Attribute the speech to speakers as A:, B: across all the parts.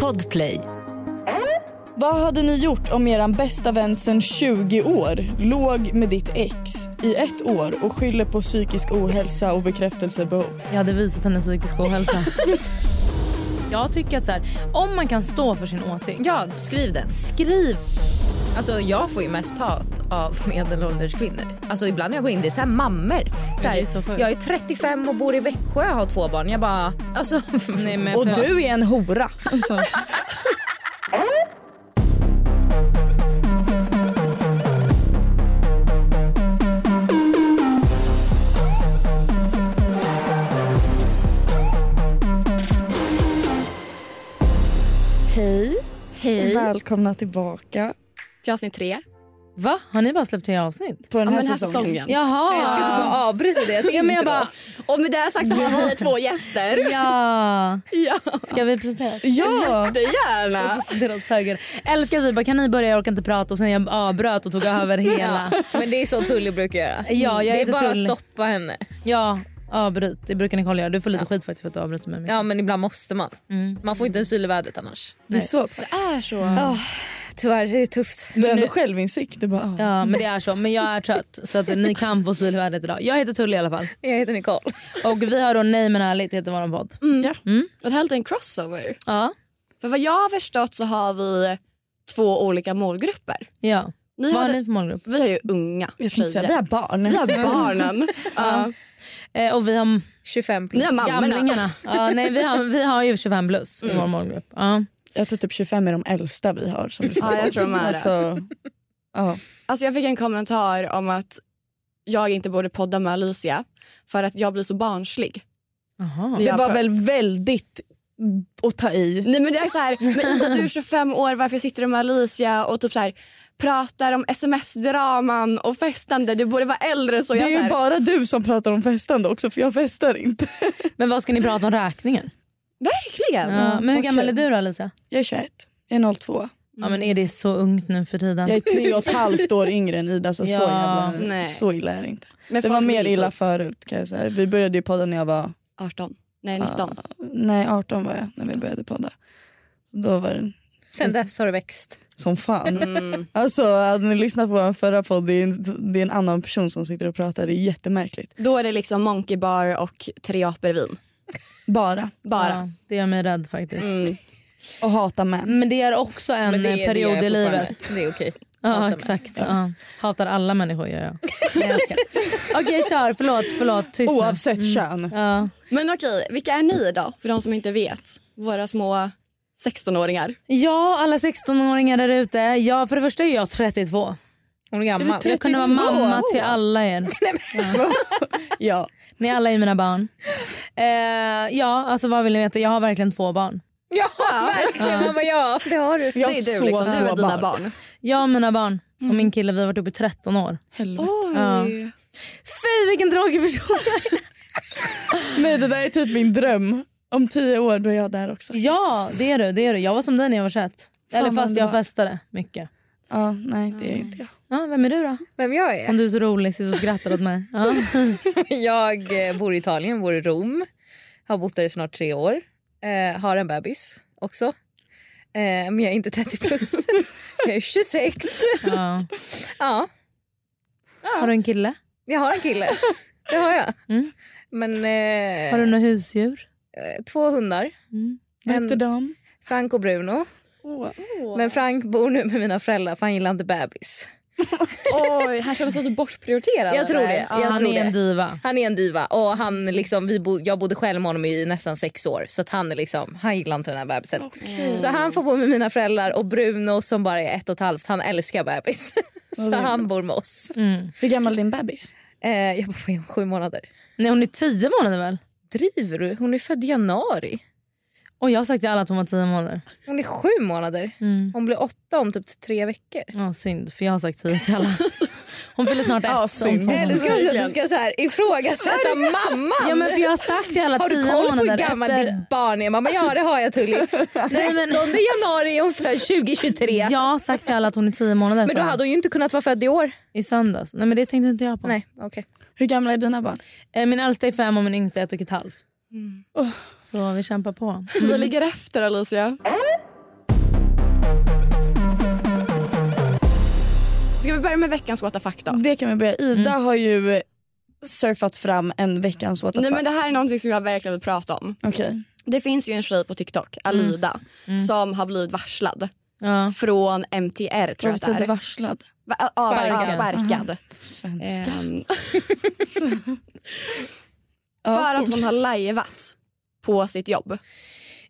A: Podplay.
B: Vad hade ni gjort om eran bästa vän sen 20 år låg med ditt ex i ett år och skyller på psykisk ohälsa och bekräftelsebehov?
C: Jag hade visat henne psykisk ohälsa. jag tycker att så här, om man kan stå för sin åsikt,
D: Ja, skriv den.
C: skriv.
D: Alltså jag får ju mest hat av medelålders kvinnor. Alltså ibland när jag går in, det är såhär mammor. Så här,
C: det är så sjukt.
D: jag är 35 och bor i Växjö och har två barn. Jag bara, alltså.
C: Nej, men
B: Och
C: för-
B: du är en hora! Alltså. Hej!
C: Hej.
B: Välkomna tillbaka
E: till avsnitt tre
C: Va? Har ni bara släppt tre avsnitt?
B: på den
E: av
B: här,
E: den här
B: säsongen.
E: säsongen.
C: Jaha.
D: Jag ska inte bara avbryta deras
C: ja, men jag
D: intro.
C: bara,
E: Och med det sagt så har vi två gäster.
C: ja.
E: Ja,
C: Ska vi presentera?
B: Ja!
E: jättegärna.
C: Deras taggar. Älskar typ att vi bara, kan ni börja? Jag orkar inte prata. Och sen jag avbröt och tog över hela.
D: Men det är så Tully brukar göra.
C: Ja, jag
D: det är
C: heter
D: bara
C: Tully.
D: att stoppa henne.
C: Ja, avbryt. Det brukar Nicole göra. Du får lite skit faktiskt för att du avbryter mig. mycket.
D: Ja men ibland måste man. Man får inte en syl i vädret annars.
B: Det är så Mm.
E: Det är så.
D: Tyvärr, det är tufft.
B: Du har ändå självinsikt. Du bara, ah.
C: Ja, men det är så. Men jag är trött så att ni kan få syl i värdet idag. Jag heter Tully i alla fall.
D: Jag heter Nicole.
C: Och vi har då Nej men ärligt heter våran podd.
B: Mm.
E: Och det här är lite en crossover.
C: Ja.
E: För vad jag har förstått så har vi två olika målgrupper.
C: ja. Vad
E: Ni har
C: har
E: den-
C: ni för målgrupp?
E: Vi har ju unga
B: Jag tänkte säga,
E: tjejer.
B: vi har barn.
E: Vi har barnen. ja.
C: Eh, och vi har
D: 25 plus.
E: Ni har mammorna.
C: gamlingarna. Ja, nej, vi, har, vi har ju 25 plus i vår målgrupp. Ja.
B: Jag tror typ 25 är de äldsta vi har. Som du
E: Ja, jag tror de är det.
B: alltså, ja.
E: Alltså jag fick en kommentar om att jag inte borde podda med Alicia för att jag blir så barnslig.
C: Jaha.
B: Det
E: Jag
B: var
E: pra-
B: väl väldigt att ta i.
E: Nej men det är så här, men Ida du är 25 år, varför sitter du med Alicia och typ så här, pratar om sms-draman och festande? Du borde vara äldre. Så
B: Det
E: jag så
B: är ju
E: här,
B: bara du som pratar om festande också för jag festar inte.
C: Men vad ska ni prata om räkningen?
E: Verkligen!
C: Ja. Men hur
B: vad
C: gammal är
B: kul.
C: du då Lisa?
B: Jag är 21, jag är 02.
C: Ja, men är det så ungt nu för tiden?
B: Jag är tre och ett halvt år yngre än Ida så, så,
C: Ja.
B: jävla,
E: Nej.
B: så illa är det inte.
E: Men
B: Det var
E: folk
B: mer
E: vill
B: illa
E: typ
B: förut kan jag säga. Vi började ju podda när jag var
E: 18, nej 19.
B: nej, 18 var jag när vi började podda. Då var det
D: Sen dess har det växt.
B: som fan.
E: Mm.
B: Alltså hade ni lyssnat på vår förra podd, det är, en, det är en annan person som sitter och pratar, det är jättemärkligt.
E: Då är det liksom monkey bar och tre apor i vin.
B: Bara.
E: Bara.
C: Ja, det gör mig rädd faktiskt.
E: Mm.
B: Och hata män.
C: Men det är också en
D: Men det
C: eh,
D: är- det
C: period
D: gör jag
C: i livet.
D: fortfarande. Det är okej. Hatar
C: Ja,
D: mig.
C: exakt. Ja. Hatar alla människor gör jag. Men jag älskar. Okej, kör. Förlåt, förlåt. Tyst nu.
B: Oavsett kön.
C: Ja.
E: Men okej, vilka är ni då? För de som inte vet. Våra små 16-åringar.
C: ja, alla 16-åringar där ute. Ja, för det första är jag 32.
D: Hon är gammal.
C: Jag kunde vara mamma
B: 32.
C: till alla er.
B: Ja.
C: Ni alla är mina barn. Eh, ja, alltså vad vill ni veta? Jag har verkligen två barn.
D: Ja, verkligen mamma ja. Det har du.
B: Jag
E: Det är
B: så
E: du liksom. Du
B: två
E: är dina barn.
C: Jag och mina barn och min kille, vi har varit ihop i 13 år.
B: Helvete.
C: Ja. Fy vilken tråkig person.
B: Nej det där är typ min dröm. Om tio år då är jag där också.
C: Ja, det är du. Det är du. Jag var som dig när jag var 21. Eller
B: vad
C: fast jag
B: underbart.
C: festade mycket.
B: Ja, nej det är inte jag.
C: Ja, vem är du då?
D: Vem jag är?
C: Om du är så rolig, sitter och skrattar åt mig. Ja.
D: Jag eh, bor i Italien, bor i Rom. Har bott där i snart tre år. Eh, har en bebis också. Eh, men jag är inte 30 plus. jag är 26. Ja,
C: Ja. Har du en kille?
D: jag har en kille. Det har jag.
C: Mm.
D: Men eh,
C: Har du några husdjur?
D: eh, två hundar.
C: Mm.
B: Vad
D: En-
B: heter de?
D: Frank och Bruno. Men Frank bor nu med mina föräldrar för han gillar inte bebis.
E: Oj, han känner sig lite bortprioriterad.
D: Jag tror det.
E: Ja.
D: Jag
C: han
D: tror
C: är
D: det.
C: en diva.
D: Han är en diva och han liksom, vi bo, jag bodde själv med honom i nästan sex år så att han, är liksom, han gillar inte den här bebisen. Så han får bo med mina föräldrar och Bruno som bara är ett och ett halvt, han älskar bebis. så han bor med oss.
C: Mm.
B: Hur gammal är din bebis?
D: Eh, jag bara, "Vad är hon, sju månader.
C: Nej, hon är tio månader väl?
D: Driver du? Hon är född i januari.
C: Och jag har sagt till alla att hon var tio månader.
D: Hon är sju månader.
C: Mm.
D: Hon blir åtta om typ tre veckor.
C: Ja, synd, för jag har sagt tio till alla. Hon fyller snart ett.
B: Ja,
C: om
B: synd.
C: två månader.
D: Eller ska du, att du ska så här ifrågasätta mamman?
C: Ja, men för jag har sagt till alla
D: har du
C: tio
D: koll på hur
C: månader
D: gammal
C: efter...
D: ditt barn är? Mamma, ja det har jag Tully. 13
C: Nej, men-
D: januari är hon född 2023.
C: Jag har sagt till alla att hon är tio månader
D: Men då
B: Alltså-
C: sa han.
D: hade hon ju inte kunnat vara född i år.
C: i söndags. Nej, men det tänkte inte jag på.
D: Nej, okej.
B: Hur gamla är dina barn?
C: Eh, Min äldsta är fem och min
D: Mm.
C: yngsta är ett och ett halvt. Så vi kämpar på.
E: Vi ligger efter Alicia. Ska vi börja med veckans what the fuck då?
B: Det kan vi börja. Ida har ju surfat fram en veckans what the
E: Nej
B: fuck.
E: men det här är någonting som jag verkligen vill prata om.
B: Okej.
E: Det finns ju en tjej på TikTok, Alida, som har blivit varslad
C: Ja.
E: från MTR tror
B: Vad
E: jag att det
B: betyder
E: är.
B: varslad?
E: Va- ja, ja,
D: Sparkad.
E: sparkad.
B: På svenska.
E: Ehm,
B: Ja,
E: för att
B: fortsätt.
E: hon har lajvat på sitt jobb.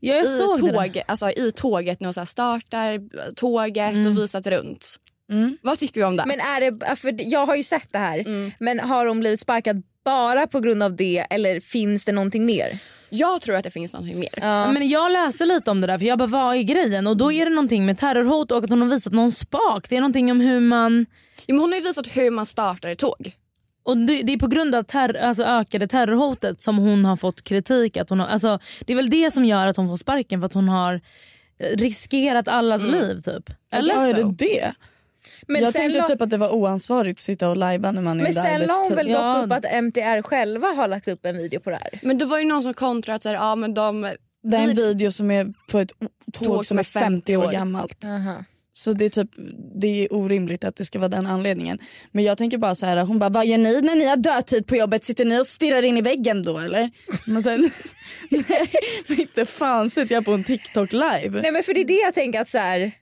C: Ja, jag
E: I,
C: såg det där.
E: tåg, alltså, I tåget när hon så här startar tåget och visat runt.
B: Mm.
E: Vad tycker vi om det?
D: Men är det, för jag har ju sett det här. Men har hon blivit sparkad bara på grund av det eller finns det någonting mer?
E: jag tror att det finns någonting mer.
C: Ja,
D: Ja. Mm.
C: Men jag läste lite om det där för jag bara vad är grejen? Och då är det någonting med terrorhot och att hon har visat någon spak. Det är någonting om hur man...
E: Jo, men hon har ju visat hur man startar ett tåg.
C: Och det, det är på grund av terr, alltså ökade terrorhotet som hon har fått kritik. Att hon har, alltså, det är väl det som gör att hon får sparken för att hon har eh, riskerat allas liv typ. Eller?
B: Ja, är
E: så.
B: det det?
D: Men
B: jag
D: sen
B: tänkte
D: la-
B: typ att det var oansvarigt att sitta och lajba när man är
D: men
B: under
D: sen la hon
B: arbetstid.
D: väl dock
C: Ja.
D: upp att MTR själva har lagt upp en video på det här.
E: Men det var ju någon som kontrade att så här, ja, men de
B: Det är en video som är på ett o- tåg,
E: Tåg
B: som är 50 år gammalt. Så det är, typ, det är orimligt att det ska vara den anledningen. Men jag tänker bara så här, hon bara, vad gör ni när ni har dödtid på jobbet? Sitter ni och stirrar in i väggen då eller? Men sen, nej, men inte fan sitter jag på en TikTok live.
D: Nej men för det är det jag tänker att så här,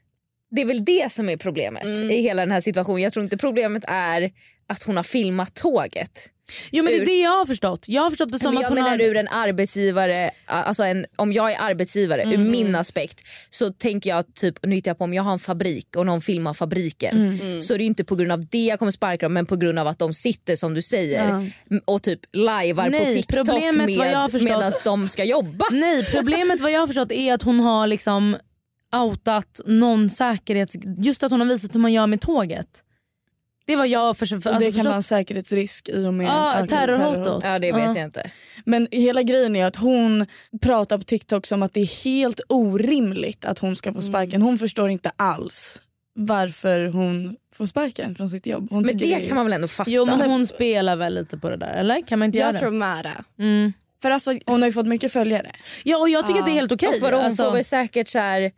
D: det är väl det som är problemet
B: Mm.
D: i hela den här situationen. Jag tror inte problemet är att hon har filmat tåget.
C: Jo, men det är det jag har förstått. Jag har förstått det som
D: men
C: att
D: jag
C: hon
D: menar
C: har...
D: ur en arbetsgivare, alltså en, om jag är arbetsgivare
C: Mm.
D: ur min aspekt så tänker jag typ, nu hittar jag på om jag har en fabrik och någon filmar fabriken
C: Mm.
D: så är det ju inte på grund av det jag kommer sparka dem men på grund av att de sitter som du säger m- och typ lajvar på
C: Nej,
D: TikTok
C: problemet vad jag har
D: med,
C: förstått-
D: medan de ska jobba.
C: Nej, problemet vad jag har förstått är att hon har liksom outat någon säkerhets... Just att hon har visat hur man gör med tåget. Det var jag för, för,
B: Och det
C: alltså,
B: kan
C: förstått.
B: vara en säkerhetsrisk i och med
C: Ja,
B: ökade
C: terrorhot då.
D: Ja det vet
C: Ja.
D: jag inte.
B: Men hela grejen är att hon pratar på TikTok som att det är helt orimligt att hon ska få sparken. Hon förstår inte alls varför hon får sparken från sitt jobb. Hon
D: Men
B: tycker
D: det
B: är-
D: kan man väl ändå fatta?
C: Jo, men hon spelar väl lite på det där, eller? Kan man inte göra
E: Jag
C: det?
E: tror med det.
C: Mm.
E: För alltså,
B: Hon har ju fått mycket följare.
C: Ja, och jag tycker att det är helt okej.
D: Och vadå, hon
C: Alltså,
D: får väl säkert så här,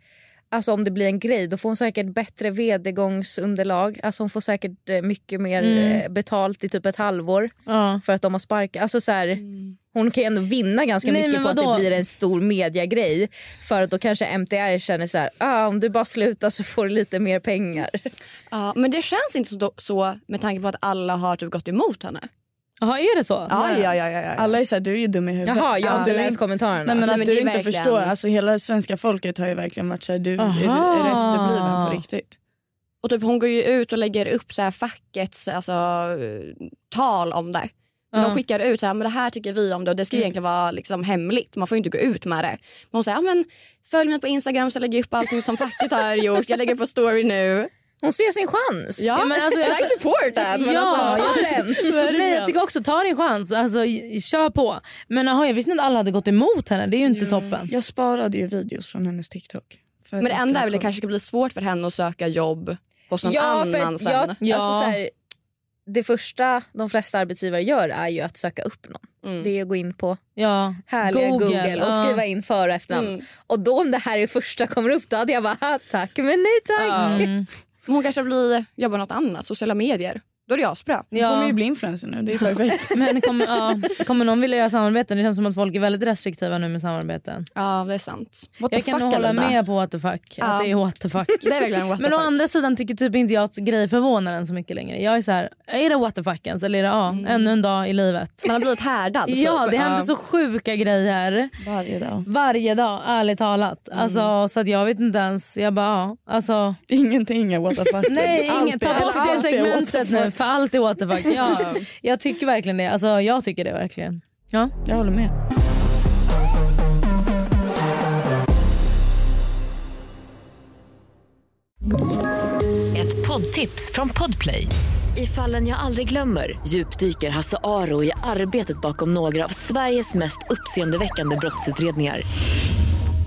D: alltså om det blir en grej då får hon säkert bättre vedergångsunderlag. Alltså hon får säkert eh, mycket mer
C: Mm.
D: eh, betalt i typ ett halvår
C: ja.
D: för att de har sparkat. Alltså så här, Hon kan ju ändå vinna ganska
C: Nej, men
D: mycket på att det
C: vadå?
D: blir en stor mediagrej för att då kanske MTR känner så här, ah, om du bara slutar så får du lite mer pengar.
E: ja, men det känns inte så, så med tanke på att alla har typ gått emot henne.
C: Jaha, är det så?
E: Ja, ja, ja, ja, ja.
B: Alla är såhär, du är ju dum i huvudet.
D: Jaha, jag har
B: Att
D: inte
B: du är-
D: läst kommentarerna.
B: Nej men
E: Nej,
B: att
E: men
B: du
E: det är
B: inte
E: verkligen-
B: förstår. Alltså, hela svenska folket har ju verkligen varit såhär, du är,
C: Aha.
B: är du efterbliven på riktigt.
E: Och typ, hon går ju ut och lägger upp så här fackets alltså, eh, tal om det. Men
C: Ja.
E: De skickar ut så här, men det här tycker vi om det och det ska ju egentligen vara liksom, hemligt. Man får ju inte gå ut med det. Men hon säger, ja, men följ mig på Instagram så lägger jag upp allting som facket har gjort. Jag lägger på story nu.
D: Hon ser sin chans.
E: Ja,
C: men alltså, jag-
E: I support that. Men
C: Ja,
E: alltså,
D: Ta den.
C: Nej, jag tycker också ta din chans. Alltså, j- kör på. Men aha, jag visste inte att alla hade gått emot henne. Det är ju inte toppen.
B: Jag sparade ju videos från hennes TikTok. för att
E: men det
B: jag
E: enda är väl
B: skulle
E: det
B: kolla.
E: kanske ska bli svårt för henne att söka jobb hos någon
D: Ja, för
E: annan
D: att
E: sen.
D: jag,
C: Ja.
D: Alltså, så här, det första de flesta arbetsgivare gör är ju att söka upp någon.
E: Mm.
D: Det är att gå in på
C: Ja.
D: härliga Google, och
C: ja.
D: skriva in för och efternamn.
E: Mm.
D: Och då om det här är första kommer upp då hade jag bara "Ah, tack men nej tack.
C: mm.
E: Men Hon kanske blir, jobbar något annat, sociala medier. Då är det asbra.
B: Hon kommer
C: Ja.
B: ju bli influencer nu, det är perfekt.
C: Men kommer, ja. kommer någon vilja göra samarbeten? Det känns som att folk är väldigt restriktiva nu med samarbeten.
E: Ja, det är sant.
B: What the
C: Jag kan
B: fuck,
C: nog hålla
B: Linda?
C: med på what the fuck. Att
E: Ja.
C: det är what the fuck.
E: Det är verkligen what the
C: Men å
E: fuck.
C: andra sidan tycker typ inte jag att grejer förvånar en så mycket längre. Jag är så här, är det what the fuck ens eller är det ja, ännu en dag i livet?
E: Man har blivit härdad.
C: Ja,
E: typ.
C: det händer så sjuka grejer
B: Varje dag.
C: varje dag, ärligt talat. Alltså, så att jag vet inte ens. Jag bara, ja. Alltså,
B: Ingenting är what the fuck.
C: nej,
B: Allt
C: inget.
B: är-
C: Ta bort
B: allt
C: det
B: är
C: segmentet
B: what the
C: nu,
B: fuck.
C: för allt är what the fuck. Ja, jag tycker verkligen det. Alltså, jag tycker det verkligen. Ja.
B: Jag håller med.
A: Ett poddtips från Podplay. I fallen jag aldrig glömmer djupdyker Hasse Aro i arbetet bakom några av Sveriges mest uppseendeväckande brottsutredningar.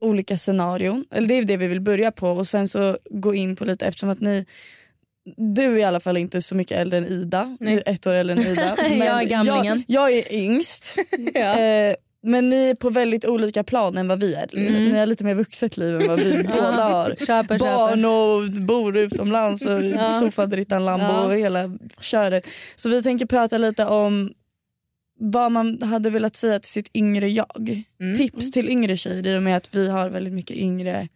B: olika scenarion. Eller det är det vi vill börja på och sen så gå in på lite eftersom att ni du är i alla fall inte så mycket äldre än Ida.
D: Nej.
B: Du är ett år äldre än Ida.
C: Jag är gamlingen.
B: Jag, jag är yngst. Eh, men ni är på väldigt olika plan än vad vi är.
C: Mm.
B: Ni har lite mer vuxet liv än vad vi båda har.
C: Köper,
B: Barn
C: köper.
B: och bor utomlands och
C: Ja.
B: soffadrittan Lambo
C: Ja.
B: och hela köret. Så vi tänker prata lite om vad man hade velat säga till sitt yngre jag.
D: Mm.
B: Tips till yngre tjejer i och med att vi har väldigt mycket yngre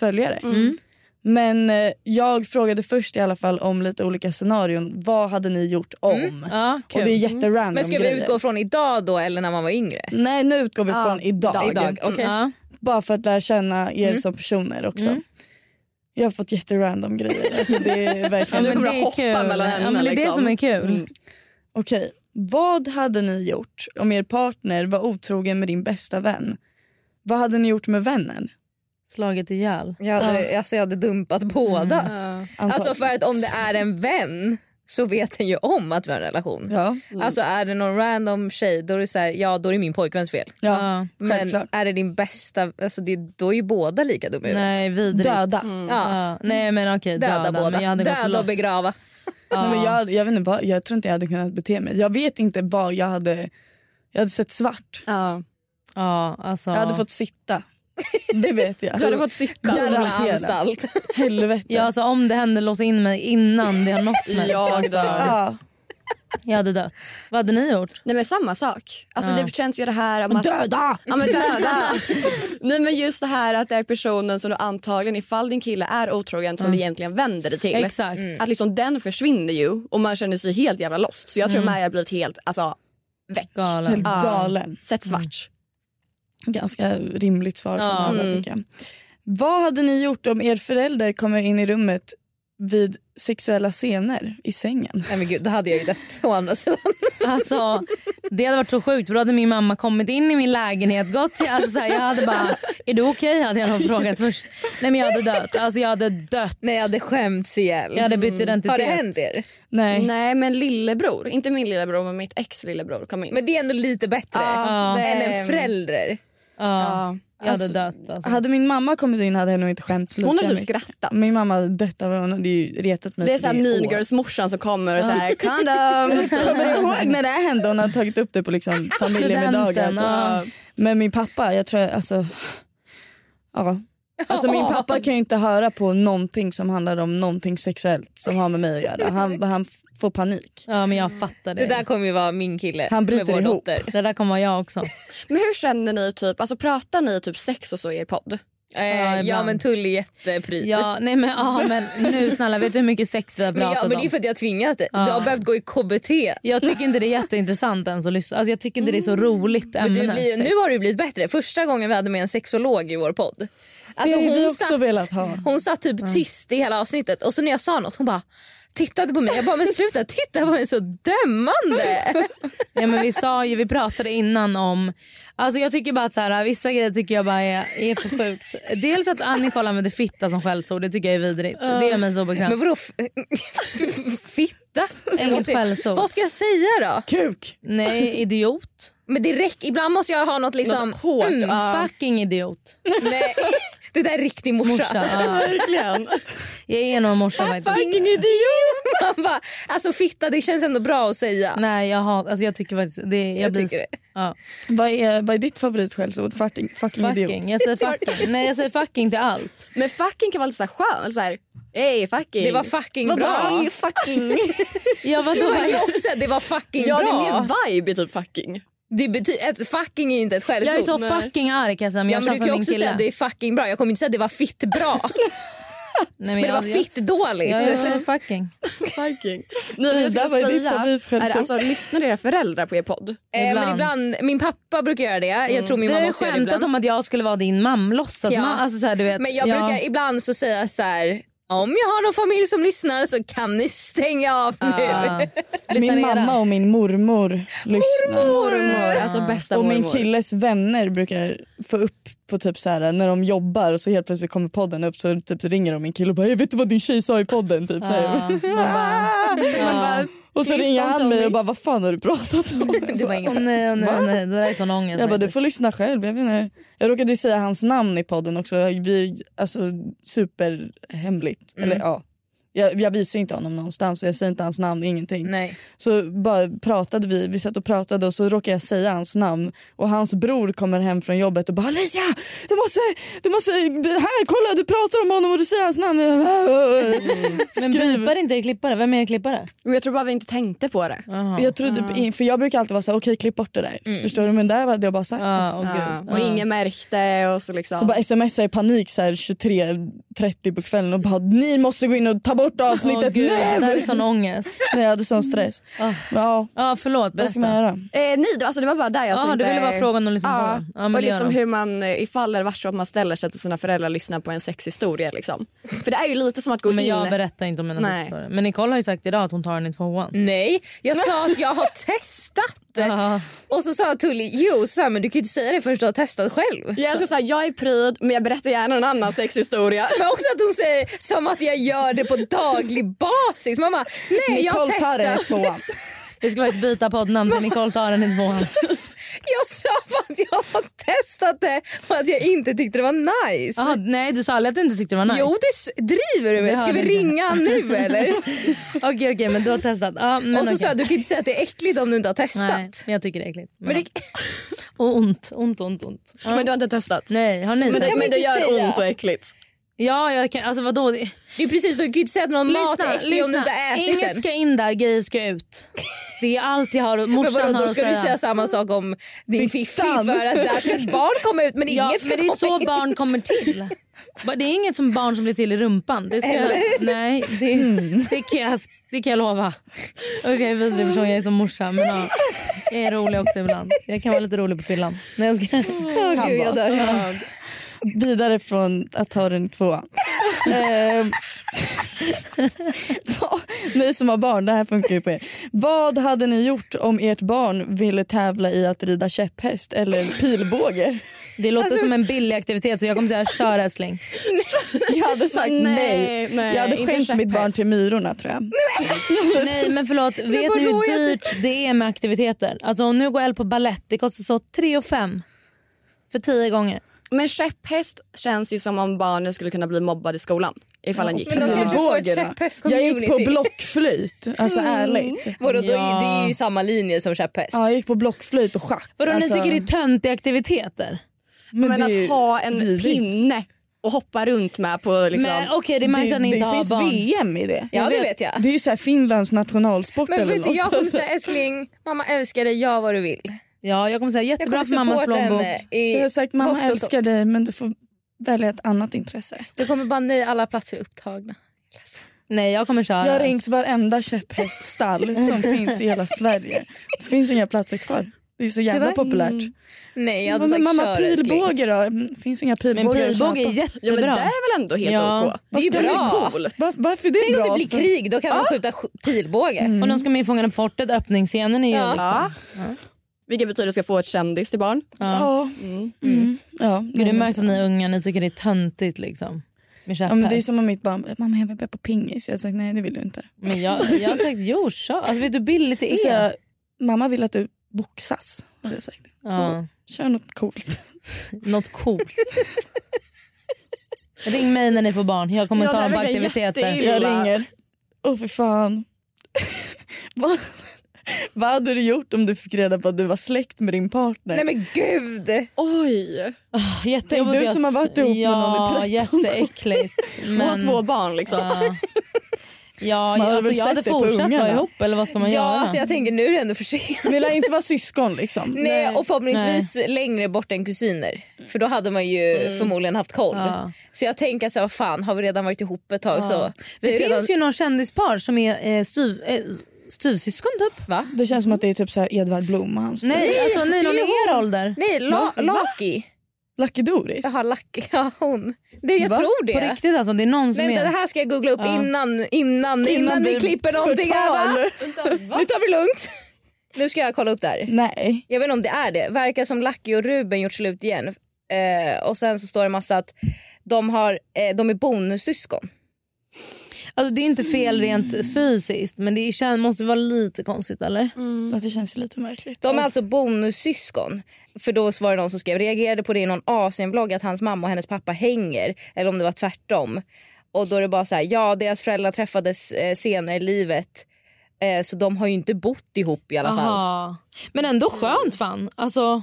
B: följare.
C: Mm.
B: Men eh, jag frågade först i alla fall om lite olika scenarion. Vad hade ni gjort om?
C: Ja, kul.
B: Och det är jätterandom
D: Mm. Men ska vi
B: grejer.
D: utgå från idag då eller när man var yngre?
B: Nej nu utgår vi
E: Ja,
B: från idag.
D: Idag, okej.
C: ja.
B: Bara för att lära känna er
D: Mm.
B: som personer också.
C: Mm.
B: Jag har fått jätterandom grejer. Alltså, det är
C: Ja,
B: verkligen...
E: Du
C: men
E: kommer
C: det är
E: att hoppa
C: kul.
E: mellan
C: Ja,
E: händerna,
C: men det är det
E: liksom.
C: som är kul.
E: Mm.
B: Okej, vad hade ni gjort om er partner var otrogen med din bästa vän? Vad hade ni gjort med vännen?
C: Slaget ihjäl.
D: Jag hade, alltså jag hade dumpat båda. Alltså
B: Antagligen.
D: för att om det är en vän så vet den ju om att vi har en relation.
B: Ja,
D: Alltså är det någon random tjej då är det så här, ja då är det min pojkväns fel.
B: ja.
C: Ja.
D: Men
B: Självklart.
D: är det din bästa, alltså det, då är ju båda lika dumma i huvudet.
C: Nej, vidrigt.
B: Döda.
D: Ja.
C: Ja. Nej men okej,
D: Döda,
C: döda,
D: båda.
C: Men jag hade gått
D: Döda och
C: loss.
D: begrava.
B: Nej, men
C: Ja.
B: jag, jag, vet inte, vad- jag tror inte jag hade kunnat bete mig. Jag vet inte vad jag hade... Jag hade sett svart.
E: Ja.
C: Ja, alltså.
B: Jag hade fått sitta. Det vet jag.
E: Du hade fått sitta.
D: Gamla
B: Garanterat.
D: anstalt.
B: Helvete.
C: Ja, alltså, om det händer, låsa in mig innan det har nått mig.
E: Jag dör.
B: Ja.
C: Jag hade dött. Vad hade ni gjort?
E: Nej men samma sak. Alltså
C: Ja.
E: det känns ju det här om att...
B: Döda!
E: Ja men döda! Nej men just det här att det är personen som du antagligen, ifall din kille är otrogen, som du egentligen vänder dig till.
C: Exakt.
E: Att liksom den försvinner ju och man känner sig helt jävla lost. Så jag tror med jag hade blivit helt alltså, väck.
C: Galen.
B: Helt galen.
E: Sett svart.
B: Ganska rimligt svar från
C: Ja.
B: alla
E: Mm.
B: tycker jag. Vad hade ni gjort om er förälder kommer in i rummet vid sexuella scener i sängen?
D: Nej men gud, då hade jag ju dött å andra sidan.
C: Alltså, det hade varit så sjukt för då hade min mamma kommit in i min lägenhet. Gått till, alltså, så här, jag hade bara, är du okej? Hade jag nog frågat först. Nej men jag hade dött. Alltså jag hade dött.
D: Nej jag hade skämts ihjäl. Mm.
C: Jag hade bytt identitet.
D: Har det hänt er?
B: Nej.
E: Nej men lillebror, inte min lillebror men mitt ex lillebror kom in.
D: Men det är ändå lite bättre
E: det-
D: än en förälder.
C: Ja,
E: Ja.
C: jag hade
B: Alltså,
C: dött. Alltså.
B: Hade min mamma kommit in hade jag nog inte skämts lika
E: Hon har typ
B: mycket.
E: skrattat.
B: Min mamma hade dött av hon hade ju retat mig
E: det är
B: för
E: såhär
B: år.
E: mean girls morsan som kommer och såhär condoms.
B: Kommer du ihåg när det här hände? Hon hade tagit upp det på liksom familjemiddagar.
C: Studenten, ja.
B: Men min pappa, jag tror alltså... Ja. Alltså min pappa kan ju inte höra på någonting som handlar om någonting sexuellt som har med mig att göra. Han, han får panik.
C: Ja men jag fattar det.
D: Det där kommer ju vara min kille
B: Han
D: med
B: bryter
D: vår
B: ihop.
D: dotter.
C: Det där kommer vara jag också.
E: Men hur känner ni typ, alltså pratar ni typ sex och så i er podd?
D: Eh,
C: Ja,
D: ja,
C: ibland.
D: men Tull är jättepryd.
C: Ja, nej, men, ja, men nu snälla, vet du hur mycket sex vi har
D: men, ja,
C: pratat
D: men det är
C: om?
D: för att jag har tvingat dig. Du
C: Ja.
D: har behövt gå i KBT.
C: Jag tycker inte det är jätteintressant ens att lyssna. Alltså, jag tycker inte det är så roligt
D: Mm. Men
C: ämne.
D: du blir, ju- nu har du blivit bättre. Första gången vi hade med en sexolog i vår podd. Alltså,
B: Det har vi
D: hon,
B: också
D: satt,
B: velat ha.
D: hon satt typ tyst i hela avsnittet och så när jag sa något hon bara tittade på mig. Jag bara men sluta titta på mig så dömande.
C: Ja, men vi sa ju, vi pratade innan om, alltså jag tycker bara att så här, vissa grejer tycker jag bara är, är för sjukt. Dels att Annika använder fitta som skällsord, det tycker jag är vidrigt. Det gör mig så obekväm.
D: Men vadå f- fitta?
C: Inget skällsord.
D: Vad ska jag säga då?
B: Kuk!
C: Nej, idiot.
D: Men det räcker. Ibland måste jag ha något liksom
E: Något hårt,
D: Mm,
E: ja.
C: Fucking idiot.
D: nej. Det där är riktig morsa.
C: Morsa. Ja.
E: Verkligen.
C: Jag är nog morsa faktiskt.
D: Fucking idiot! Man bara, alltså fitta det känns ändå bra att säga.
C: Nej, jag, har, alltså jag tycker faktiskt... Det, jag
D: jag
C: blir,
D: tycker det.
C: Ja.
B: Vad är, vad är ditt favoritskällsord? Fucking, fucking, idiot.
C: Fucking. Jag säger fucking. Nej, jag säger fucking till allt.
E: Men fucking kan vara lite såhär skön. Så här, Ey fucking.
D: Det var fucking
E: Vadå?
D: bra.
E: Ey, fucking.
C: Ja,
D: Det
C: vadå?
D: var Josse, det var fucking
E: ja det
D: bra.
E: är mer vibe i typ fucking.
D: Det betyder, ett fucking är inte ett skällsord.
C: Jag är så fucking arg kan jag säga, men
D: ja,
C: jag
D: men du kan
C: känns
D: ju
C: som min
D: också säga
C: kille.
D: att det är fucking bra. Jag kommer inte säga att det var fitt bra.
C: Nej,
D: men det var
C: jag- jag-
D: fitt dåligt.
C: Ja, jag säger fucking.
E: fucking. Nej, men
B: Ida,
E: jag ska
B: vad är ditt
E: säga,
B: favoritskällsord?
E: är det, Alltså, lyssnar era föräldrar på er podd?
D: Eh, men
C: Ibland. Mm.
D: ibland, min pappa brukar göra det. Jag tror min
C: Vi har
D: mamma
C: ju
D: också gör det
C: skämtat
D: ibland.
C: om att jag skulle vara din mam, låtsas
D: Ja.
C: ja. alltså, så här, du vet.
D: Men jag
C: Ja.
D: brukar ibland så säga så här. Om jag har någon familj som lyssnar så kan ni stänga av nu.
C: Ja. Lyssnar
B: Min
C: era.
B: mamma och min mormor lyssnar.
E: Mormor, alltså bästa
B: Och min
E: mormor.
B: killes vänner brukar få upp på typ så här när de jobbar och så helt plötsligt kommer podden upp så typ ringer de min kille och bara "Hey, vet du vad din tjej sa i podden? Typ så här.
C: Ja, man bara,
E: Man bara,
B: Och så
E: Ah. Please
B: ringer
E: don't
B: han
E: tell
B: mig
E: me.
B: och bara vad fan har du pratat om?
D: Det var inget.
C: Åh, nej, åh, nej, nej, det där är sån
B: Jag
C: ångest.
B: bara du
C: faktiskt.
B: får lyssna själv. Jag, vet inte. jag råkade ju säga hans namn i podden också. Vi, alltså superhemligt.
D: Mm.
B: Eller ja. Jag, jag visar ju inte honom någonstans. Jag säger inte hans namn, ingenting.
D: Nej.
B: Så bara pratade vi, vi satt och pratade och så råkade jag säga hans namn och hans bror kommer hem från jobbet och bara Alicia, du måste, du måste, du, här kolla du pratar om honom och du säger hans namn. "Äh,
C: Men
B: Skriv.
C: blipar inte er klippare? Vem är er klippare?
E: Mm. Men jag tror bara vi inte tänkte på det.
C: Jaha.
B: Jag tror typ, in- för jag brukar alltid vara så här, okej klipp bort det där. Förstår du? Men där hade jag bara sagt.
C: Ja, åh, gud.
E: Ja. Och
C: Ja.
E: ingen märkte och så liksom.
B: Och bara smsar i panik så här 23.30 på kvällen och bara ni måste gå in och ta bort
C: Åh,
B: avsnittet
C: gud. Det där
B: nu.
C: är sån ångest.
B: Nej, jag hade sån stress.
C: Ah.
B: Ja,
C: Ja, förlåt.
B: vad ska man
C: Berätta.
B: göra?
E: Eh, nej, det- alltså det var bara där jag
C: Jaha,
E: inte...
C: du ville bara fråga om de lyssnar på
E: Ja,
C: den. Ja, men
E: och
C: det gör
E: liksom
C: de.
E: hur man, eh, ifall det var så att man ställer sig till sina föräldrar och lyssnar på en sexhistoria. Liksom. För det är ju lite som att gå
C: Men
E: in...
C: jag berättar inte om mina
E: Nej.
C: sexhistorier. Men Nicole har ju sagt idag att hon tar den i tvåan.
D: Nej, jag sa att jag har testat det.
C: Ja.
D: Och så sa Tully, jo, så här, men du kan ju inte säga det förrän du har testat själv.
E: jag ska säga jag är pryd men jag berättar gärna en annan sexhistoria.
D: Men också att hon säger som att jag gör det på daglig basis. Mamma, nej jag har
B: Nicole tar det i
D: testat.
B: tvåan.
C: Vi ska faktiskt byta poddnamn till Nicole tar den i tvåan.
D: Jag sa bara att jag har testat det och att jag inte tyckte det var nice.
C: Jaha, nej, du sa aldrig att du inte tyckte det var Ah, nice.
D: Jo, du s- driver du
C: Det
D: med?
C: har
D: Ska vi
C: vi inte.
D: ringa han nu eller?
C: Okej, okej, men du har testat. Ja, men
D: och så
C: okej.
D: sa jag, du kan inte säga att det är äckligt om du inte har testat.
C: Nej, men jag tycker det är äckligt.
D: Men det,
C: Och ont, ont, ont, ont. Ja.
E: Men du har inte testat?
C: Nej, har ni
E: Men det,
C: testat?
E: men det gör
D: säga.
E: ont och äckligt.
C: Ja, jag kan, alltså vadå? Det-
D: det är precis, du kan ju inte säga att någon mat är äcklig om du inte har ätit
C: Inget
D: den.
C: ska in där, grejer ska ut. Det är allt jag har,
D: Men
C: morsan
D: vadå,
C: har
D: då
C: att
D: ska du säga samma sak om din fiffi för
B: Fittan.
D: att där ska ett barn komma ut men
C: Ja,
D: inget ska
C: men det är
D: komma
C: så
D: in.
C: barn kommer till. Va, Det är inget som barn som blir till i rumpan. Det, ska jag, nej, det,
D: Mm.
C: det, kan jag, det kan jag lova. Usch, jag är en vidrig person, jag är som morsa. Men ja, jag är rolig också ibland. Jag kan vara lite rolig på fyllan. Nej, jag ska,
D: Åh, gud, jag dör.
B: vidare från att ta den i tvåan. Ehm, vad- ni som har barn, det här funkar ju på er. Vad hade ni gjort om ert barn ville tävla i att rida käpphäst eller pilbåge?
C: det låter som en billig aktivitet så jag kommer säga kör älskling.
B: Jag hade sagt
E: Nej,
B: nej.
E: nej,
B: jag hade
E: inte
B: skänkt mitt barn
E: käpphäst.
B: till myrorna tror jag.
C: Nej men förlåt, vet ni
D: vadå,
C: hur
D: jag
C: dyrt det är med aktiviteter? Alltså om nu går El på ballett, det kostar så 3 och 5 för 10 gånger.
E: Men käpphäst känns ju som om barnen skulle kunna bli mobbade i skolan. Ifall han gick.
D: Men de kanske får Mm. ett
B: Pilbåge, då. Jag gick på
D: käpphäst-community.
B: blockflöjt, alltså ärligt.
D: Vadå, då är-
C: Ja.
D: Det är ju samma linje som käpphäst.
B: Ja, jag gick på blockflöjt och schack.
C: Vadå
B: alltså,
C: ni tycker det är töntiga aktiviteter?
B: men
E: Men
B: det är
E: att ha en
B: vidrigt.
E: pinne och hoppa runt med på liksom...
C: Men okej det märks att ni inte
B: det
C: har
B: finns
C: barn.
B: VM i det.
D: Ja, det vet jag.
B: Det är ju så här Finlands nationalsport
D: Men
B: eller
D: vet du,
B: något.
D: jag kommer
B: alltså.
D: säga älskling, mamma älskar dig, gör vad du vill.
C: Ja jag kommer säga
D: Jag
C: jättebra
D: kommer
C: för mammas
D: supporta
C: plånbok.
D: henne. I,
B: Jag har sagt mamma
D: bort och-
B: älskar dig men du får välja ett annat intresse.
D: Du kommer bara nej, alla platser är upptagna. Ledsen.
C: Nej jag kommer köra.
B: Jag har ringt varenda käpphäststall som finns i hela Sverige. Det finns inga platser kvar. Det är så jävla
D: Tyvärr.
B: populärt.
D: Nej, jag
B: Ja,
D: hade
B: men
D: sagt
B: mamma
D: kör älskling.
B: pilbåge då? Mm, finns inga
C: men
B: pilbågar
C: pilbåge är
B: att köpa.
E: ja, men det
C: jättebra.
E: är väl ändå helt
C: Ja.
E: OK?
D: Det är ju
E: Det är
D: bra.
E: coolt.
B: Va- Varför är det
D: Tänk
B: bra?
D: om det blir krig, då kan de skjuta sk- pilbåge.
C: Och de ska med i Fångarna på fortet, öppningsscenen är ju...
D: Ja.
E: Ja. Vilket betyder att jag ska få ett kändis till barn.
B: Ja. Mm. Ja.
C: Gud, det märks att ni är unga, ni tycker det är töntigt liksom. Med
B: Ja, men det är
C: käpphäst.
B: som om mitt barn mamma jag vill börja på pingis. Jag har sagt nej det vill du inte.
C: Men jag, jag har sagt jo, kör. Alltså, vet du hur billigt
B: Så
C: det
B: sa
C: är?
B: jag, mamma vill att du boxas. Har jag sagt.
C: Ja.
B: Kör något coolt.
C: Något coolt. Ring mig när ni får barn. Jag kommer
E: Ja,
C: ta
E: det
C: dem på
E: verkar
C: aktiviteter.
E: jätteilla.
B: Jag ringer. Åh för fan. vad, vad hade du gjort om du fick reda på att du var släkt med din partner?
D: Nej men gud!
E: Oj!
C: Ah, jättejobbigt.
B: Det är du som har varit ihop med
C: ja,
B: någon i
C: jätteäckligt.
E: Och ha
C: Men,
E: två barn liksom.
C: ja, ja
B: Man hade
C: alltså,
B: väl
C: jag hade
B: sett det på
C: fortsatt vara
B: ungarna.
C: ihop eller vad ska man
D: ja,
C: göra?
D: alltså, jag tänker nu är det ändå för sent.
B: Ni lär inte vara syskon liksom.
D: Nej, och förhoppningsvis längre bort än kusiner. För då hade man ju förmodligen haft koll.
C: Ja.
D: Så jag tänker så här, vad fan har vi redan varit ihop ett tag så.
C: Det
D: Vi har
C: finns
D: redan...
C: ju någon kändispar som är eh, styv, eh, styvsyskon typ.
D: Va?
B: Det känns som att det är typ så här Edvard Blom och hans
C: Nej, alltså ni någon i er ålder.
D: Nej, la- Laki.
B: Lucky Doris.
D: Jaha, Laki. Ja, hon. Det, jag tror
C: På
D: det.
C: riktigt alltså, det är någon som
D: Men det
C: är...
D: här ska jag googla upp
C: Ja.
D: innan, innan, innan, ni
B: vi
D: klipper någonting. här, va?
B: förtal.
D: Nu tar vi lugnt. Nu ska jag kolla upp det här.
B: Nej.
D: Jag vet inte om det är det. Verkar som Lucky och Ruben gjort slut igen. Eh, och sen så står det massa att de, har, eh, de är bonussyskon.
C: Alltså, det är inte fel rent fysiskt men det kän- måste vara lite konstigt eller?
B: Fast det känns lite märkligt.
D: De är alltså bonussyskon. För då var det någon som skrev, reagerade på det i någon Asienblogg att hans mamma och hennes pappa hänger. Eller om det var tvärtom. Och då är det bara så här, ja deras föräldrar träffades eh, senare i livet. Eh, så de har ju inte bott ihop i alla fall.
C: Aha. Men ändå skönt fan. Alltså,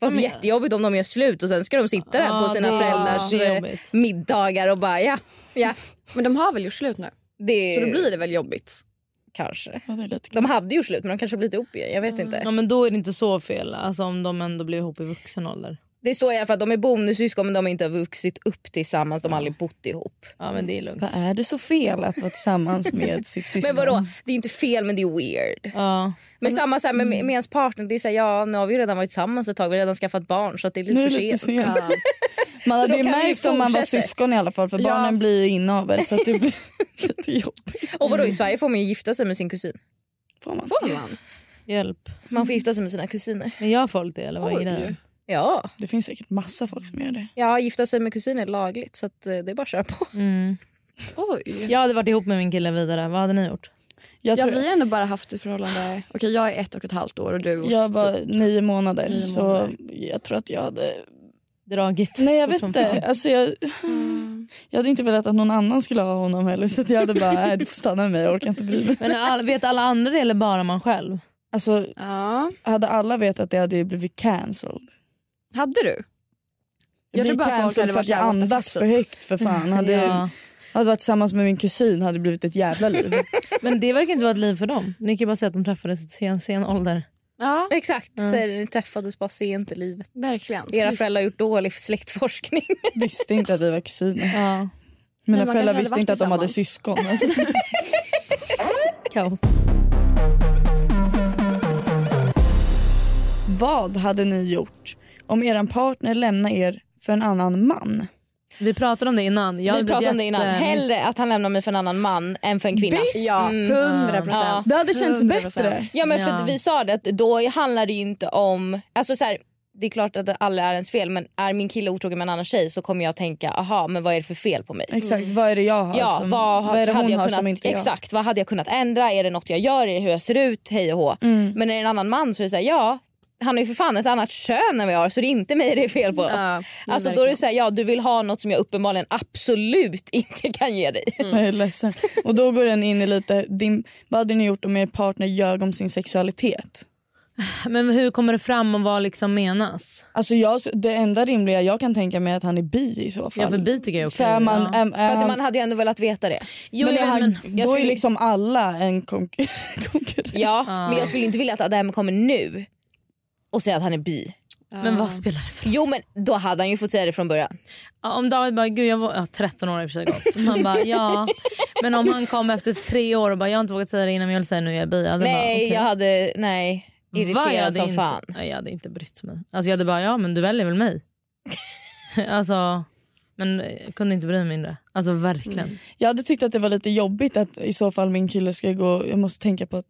D: Fast jättejobbigt om de gör slut och sen ska de sitta där
C: Ja,
D: på sina
C: det-
D: föräldrars
C: det är
D: eh,
C: jobbigt.
D: middagar och bara ja, ja.
E: Men de har väl gjort slut nu?
D: Det,
E: Så då blir det väl jobbigt?
D: kanske.
B: Ja, det är lite
D: De hade ju slut men de kanske har blivit ihop igen. Jag vet inte.
C: ja, men då är det inte så fel alltså, om de ändå blir ihop i vuxen ålder.
D: Det står i alla fall att de är bonussyskon men de har inte vuxit upp tillsammans. De har aldrig bott ihop.
C: Ja, men det är lugnt.
B: Vad är det så fel att vara tillsammans med sitt syskon?
D: Men vadå, det är ju inte fel men det är weird.
C: Ja.
D: Men samma så här, med, med ens partner, det är så här, ja nu har vi ju redan varit tillsammans ett tag, vi har redan skaffat barn så att det är
B: Nu
D: lite
B: är
D: för
B: det lite
D: sent.
B: sent. Man hade
D: då
B: ju
D: kan vi ju
B: märkt om man var
D: fortsätta.
B: syskon i alla fall för
E: Ja.
B: barnen blir ju inavel så att det blir lite jobbigt.
D: Och vadå i Sverige får man ju gifta sig med sin kusin.
B: Får man.
E: Får man?
C: Hjälp.
D: Man får gifta sig med sina kusiner.
C: Men gör folk det eller vad är grejen?
D: Ja,
B: Det finns säkert massa folk som gör det.
D: ja gifta sig med kusiner är lagligt så att, eh, det är bara att köra på.
C: Mm.
E: Oj.
C: Jag hade varit ihop med min kille vidare. Vad hade ni gjort?
B: Jag,
E: Ja,
B: tror,
E: vi har ändå bara haft ett förhållande... Okej, jag är ett och ett halvt år och du...
B: jag var nio månader
E: Nio
B: så
E: månader.
B: jag tror att jag hade...
C: Dragit?
B: Nej jag vet
C: Som
B: inte.
C: fan.
B: Alltså, jag,
E: Mm.
B: jag hade inte velat att någon annan skulle ha honom heller så att jag hade bara, nej du får stanna med mig, jag orkar inte bry mig.
C: Men all, vet alla andra det eller bara man själv?
B: Alltså
E: Ja.
B: hade alla vetat det hade jag blivit cancelled.
E: Hade du?
B: Jag,
E: Jag
B: blev
E: tror bara folk
B: cancelled
E: hade
B: för
E: varit
B: att jag
E: jävla
B: andas
E: tafaxen.
B: för högt för fan. Hade,
C: Ja.
B: hade varit tillsammans med min kusin hade det blivit ett jävla liv.
C: Men det verkar inte vara ett liv för dem. Ni kan ju bara säga att de träffades i sen, sen ålder.
E: Ja,
D: Exakt, så är det, ni träffades bara sent i livet.
E: verkligen.
D: Era
E: Just-
D: föräldrar har gjort dålig släktforskning.
B: visste inte att vi var kusiner.
C: Ja.
B: Mina
E: man kanske
B: föräldrar
E: hade
B: visste
E: varit
B: inte att de hade
E: tillsammans.
B: syskon. Alltså.
C: Kaos.
B: Vad hade ni gjort om er partner lämnar er för en annan man?
C: Vi pratade om det innan. Jag
D: Vi
C: hade blivit
D: pratade om det innan.
C: jätte-
D: Hellre att han lämnar mig för en annan man än för en kvinna.
B: Visst!
D: Ja. Mm.
E: Hundra
D: Ja.
E: procent.
B: Det hade känts
E: 100%.
B: bättre.
D: Ja men för
C: Ja.
D: vi sa det att då handlar det ju inte om, alltså så här, det är klart att alla är ens fel men är min kille otrogen med en annan tjej så kommer jag tänka aha men vad är det för fel på mig?
B: Exakt, vad är det jag har
D: Ja,
B: som,
D: vad,
B: alltså, vad är det
D: hade
B: hon
D: jag
B: har
D: kunnat,
B: som inte jag har?
D: Exakt, vad hade jag kunnat ändra? Är det något jag gör? Är det hur jag ser ut? Hej och hå.
B: Mm.
D: Men är det en annan man så är det såhär, ja han har ju för fan ett annat kön än vad jag har så det är inte mig det är fel på.
E: Ja, men
D: alltså då är det såhär, ja du vill ha något som jag uppenbarligen absolut inte kan ge dig.
B: Jag är ledsen. Och då går den in i lite, din, vad hade ni gjort om er partner ljög om sin sexualitet?
C: Men hur kommer det fram och vad liksom menas?
B: Alltså jag, det enda rimliga jag kan tänka mig är att han är bi i så fall.
C: Ja, för bi tycker jag är okej.
B: För är man,
C: ja.
B: är, är
D: Fast
B: han,
D: man hade ju ändå velat veta det.
C: jo,
B: men
C: jag
B: är
C: vet,
B: han,
C: men,
B: då
D: skulle-
B: är liksom alla en konk- konkurrent.
D: Ja, men jag skulle inte vilja att Adam kommer nu och säga att han är bi.
C: men vad spelar det för
D: Jo men då hade han ju fått säga det från början.
C: Ja, om David bara, gud jag var ja, 13 år i och för sig gått. Man bara, ja. Men om han kom efter tre år och bara, jag har inte vågat säga det innan men jag vill säga nu jag är bi. Jag hade bara,
D: nej
C: okej.
D: jag hade, nej.
C: Va, jag hade
D: Irriterad som
C: inte,
D: fan.
C: Nej, jag hade inte brytt mig. Alltså, jag hade bara, ja men du väljer väl mig. alltså, men jag kunde inte bry mig mindre. Alltså verkligen.
B: Jag hade tyckt att det var lite jobbigt att i så fall min kille ska gå, jag måste tänka på att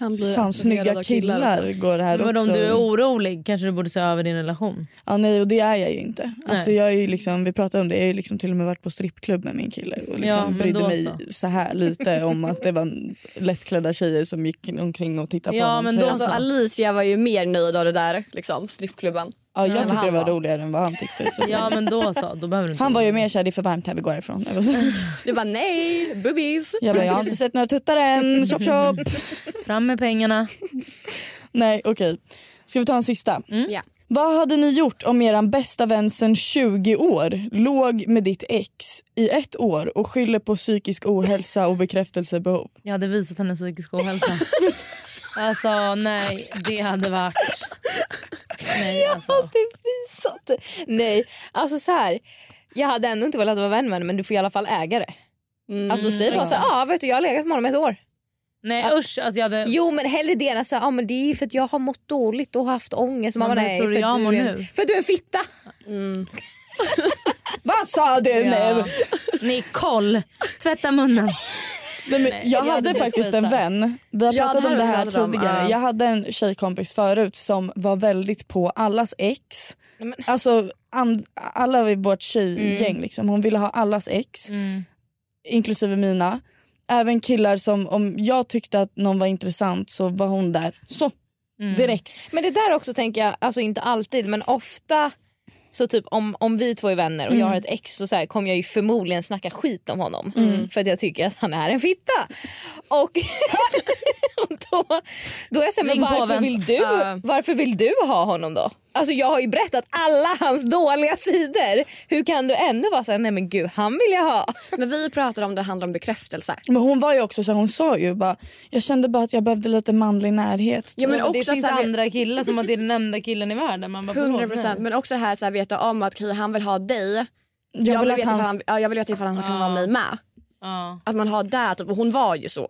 E: Han blir
B: fan
E: attraherad
B: snygga
E: av
B: killar
E: också.
B: går här
C: alltså. Men
B: också.
C: om du är orolig kanske du borde se över din relation.
B: ja, nej och det är jag ju inte. Alltså,
C: Nej.
B: jag är ju liksom, vi pratade om det, jag har ju liksom till och med varit på strippklubb med min kille och
C: Ja,
B: liksom
C: men
B: brydde
C: då
B: mig
C: så.
B: så här lite om att det var lättklädda tjejer som gick omkring och tittade
C: Ja,
B: på honom.
C: men
B: Så
C: då
B: jag-
E: Alltså Alicia var ju mer nöjd av det där, liksom, strippklubben.
B: ja, jag
E: vad
B: tyckte det
E: han
B: var
E: var.
B: roligare än vad han tyckte. Så.
C: Ja men då så, då behöver du inte
B: Han var ju mer såhär, det är för varmt här, vi går härifrån. Jag, var så,
E: Du bara nej, boobies.
B: jag, bara, jag har inte sett några tuttar än, chop chop.
C: Fram med pengarna.
B: Nej okej, ska vi ta en sista?
E: Ja.
B: Vad hade ni gjort om er bästa vän sen 20 år låg med ditt ex i ett år och skyller på psykisk ohälsa och bekräftelsebehov?
C: Jag hade visat henne psykisk ohälsa. alltså nej, det hade varit... Nej, alltså.
D: hade visat det. Nej, alltså så här. Jag hade ändå inte velat vara vän med henne men du får i alla fall äga det.
E: Mm.
D: Alltså säg bara så här, ah, vet du jag har legat med honom ett år.
C: Nej usch, alltså jag hade...
D: Jo men hellre det än att säga, ah, men det är för att jag har mått dåligt och haft ångest.
C: Men
D: Mamma,
C: hur
D: nej,
C: tror du
D: för att
C: jag
D: du
C: mår
D: är en-
C: nu?
D: För att du är en fitta.
E: Mm.
B: Vad sa du nu?
C: Ja. Nicole, tvätta munnen.
B: Nej, men jag,
C: jag
B: hade
C: hade
B: faktiskt
C: blivit
B: en vän, vi har
E: Ja,
B: pratat om det
E: det här har vi
B: här
E: pratat om,
B: tidigare.
E: ja.
B: Jag hade en tjejkompis förut som var väldigt på allas ex.
E: Mm.
B: Alltså and, alla i vårt tjejgäng, liksom. hon ville ha allas ex. inklusive mina. Även killar som om jag tyckte att någon var intressant så var hon där. Så,
C: Mm.
B: direkt.
D: Men det där också tänker jag, alltså inte alltid men ofta så typ om, om vi två är vänner och jag
C: Mm.
D: har ett ex så, så här, kommer jag ju förmodligen snacka skit om honom
C: Mm.
D: för att jag tycker att han är en fitta. Och, och då, då är jag så här, men
C: Ring
D: varför
C: påven.
D: vill, du,
E: Ja.
D: varför vill du ha honom då? Alltså jag har ju berättat alla hans dåliga sidor. Hur kan du ändå vara såhär, nej men gud han vill jag ha.
E: Men vi pratade om det handlar om bekräftelse.
B: Men hon var ju också så här, hon sa ju bara, jag kände bara att jag behövde lite manlig närhet.
E: Ja, men
C: Men det
E: också att
C: finns
E: så här,
C: andra killar som att det är den enda killen i världen. Man bara, förlåt,
E: 100 procent. Men också det här att veta om att okej, han vill ha dig.
B: jag, vill
E: Jag, vill
B: att
E: veta
B: han
E: ifall han, ja, jag vill veta ifall han kan ha mig med.
C: Ja.
E: Att man har det. Typ. Och hon var ju så.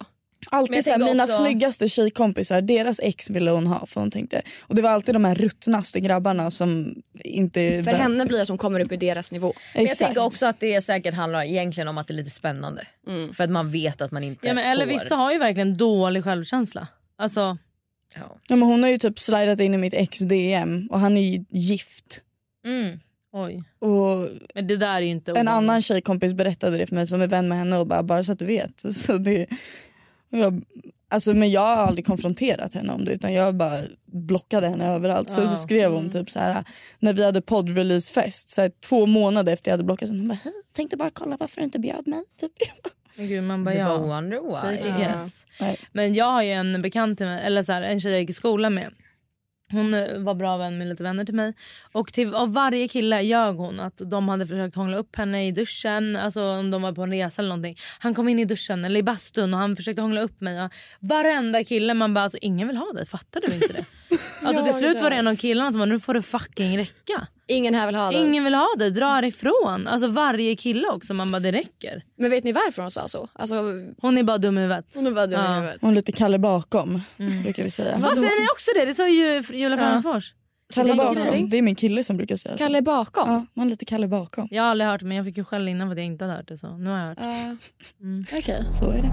D: Men
B: Alltid
D: jag
B: så här,
D: tänker
B: mina
D: också-
B: snyggaste tjejkompisar, deras ex ville hon ha för hon tänkte. Och det var alltid de här ruttnaste grabbarna som inte...
E: För henne blir det som kommer upp i deras nivå.
B: Exakt.
D: att det säkert handlar egentligen om att det är lite spännande. För att man vet att man inte
C: Mm. Ja, men, eller vissa har ju verkligen dålig självkänsla. Alltså,
B: Ja, men hon har ju typ slidat in i mitt ex DM och han är ju gift.
D: Mm.
C: oj.
B: Och
C: Men det där är ju inte
B: en
C: ovanligt.
B: annan tjejkompis berättade det för mig som är vän med henne och bara, bara så att du vet. Så det, och jag, alltså, men jag har aldrig konfronterat henne om det utan jag bara blockade henne överallt. Sen så skrev hon typ så här när vi hade poddreleasefest så här, två månader efter jag hade blockat henne. Hon bara hej tänkte bara kolla varför du inte bjöd mig. Typ.
C: Gud, man bara, ja.
D: wonder why.
C: Take a guess.
B: Nej.
C: Men jag har ju en bekant till mig, eller så här, en tjej jag gick i skolan med. Hon eh, var bra vän med lite vänner till mig. Och till, av varje kille ljög hon att de hade försökt hångla upp henne i duschen. Alltså om de var på en resa eller någonting. Han kom in i duschen eller i bastun och han försökte hångla upp mig. Ja, Varenda kille man bara alltså ingen vill ha dig. Fattar du inte det? alltså till slut var det en av killarna som bara nu får det fucking räcka.
E: Ingen här vill ha den.
C: Ingen vill ha dig. Dra härifrån. Alltså varje kille också. Man bara det räcker.
E: Men vet ni varför hon sa så? Alltså,
C: Hon är bara dum i huvudet.
E: hon är bara dum i huvudet.
B: Hon är lite Kalle bakom brukar vi säga.
C: Vad säger ni också det? Det sa ju Julia Frändefors.
B: Kalle
E: Vad är det för
B: bakom,
E: någonting?
B: det är min kille som brukar säga så.
E: Kalle bakom.
B: Ja, man är lite Kalle bakom.
C: Jag har aldrig hört det, men jag fick ju skäll innan för att jag inte hade hört det. Så nu har jag hört.
E: Ja. Okej.
B: Så är det.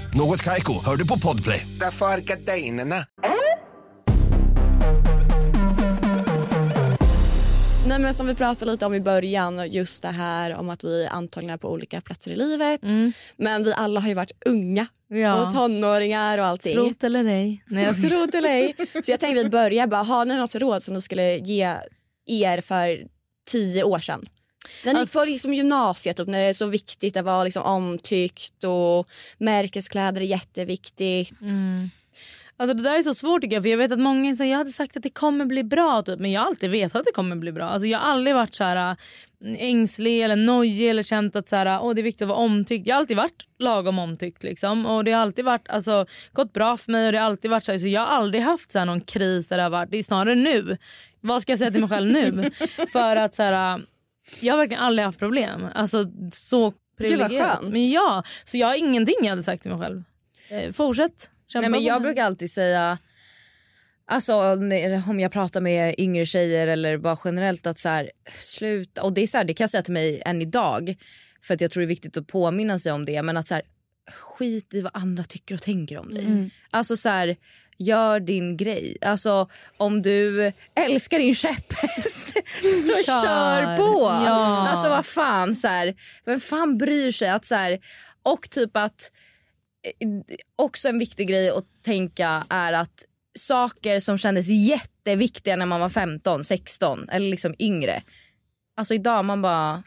F: Något Kaiko, hör du på Podplay.
G: Därför är gardinerna.
E: Nej, men som vi pratade lite om i början, just det här om att vi är antagna på olika platser i livet. Men vi alla har ju varit unga
C: Mm. Ja.
E: och tonåringar och allting.
C: Trot eller ej. Nej, jag ska...
E: Tro det eller ej. Så jag tänkte vi börjar bara, har ni något råd som ni skulle ge er för tio år sedan? När
D: Alltså-
E: ni får liksom gymnasiet, typ, när det är så viktigt att vara liksom omtyckt och märkeskläder är jätteviktigt.
D: Mm.
C: Alltså det där är så svårt tycker jag. För jag vet att många säger jag hade sagt att det kommer bli bra. Typ. Men jag har alltid vetat att det kommer bli bra. Alltså jag har aldrig varit så här äh, ängslig eller nojig eller känt att så här, åh, det är viktigt att vara omtyckt. Jag har alltid varit lagom omtyckt liksom. Och det har alltid varit, alltså, gått bra för mig och det har alltid varit så här. Så jag har aldrig haft så här, någon kris där det har varit, det är snarare nu. Vad ska jag säga till mig själv nu? för att så här, äh, jag har verkligen aldrig haft problem. Alltså så privilegierat.
E: skönt.
C: Men ja, så jag har ingenting jag hade sagt till mig själv. Eh, fortsätt. Kämpa
D: Nej, men
C: på
D: jag
C: med.
D: brukar alltid säga, alltså, när- om jag pratar med yngre tjejer eller bara generellt att så här, sluta. Och det, är så här, det kan jag säga till mig än idag för att jag tror det är viktigt att påminna sig om det. Men att så här, skit i vad andra tycker och tänker om dig. Alltså så här, gör din grej. Alltså om du älskar din käpphäst så
C: Kör.
D: kör, på.
C: Ja.
D: Alltså vad fan så här, vem fan bryr sig att så här, och typ att eh, också en viktig grej att tänka är att saker som kändes jätteviktiga när man var 15, 16 eller liksom yngre. Alltså idag man bara,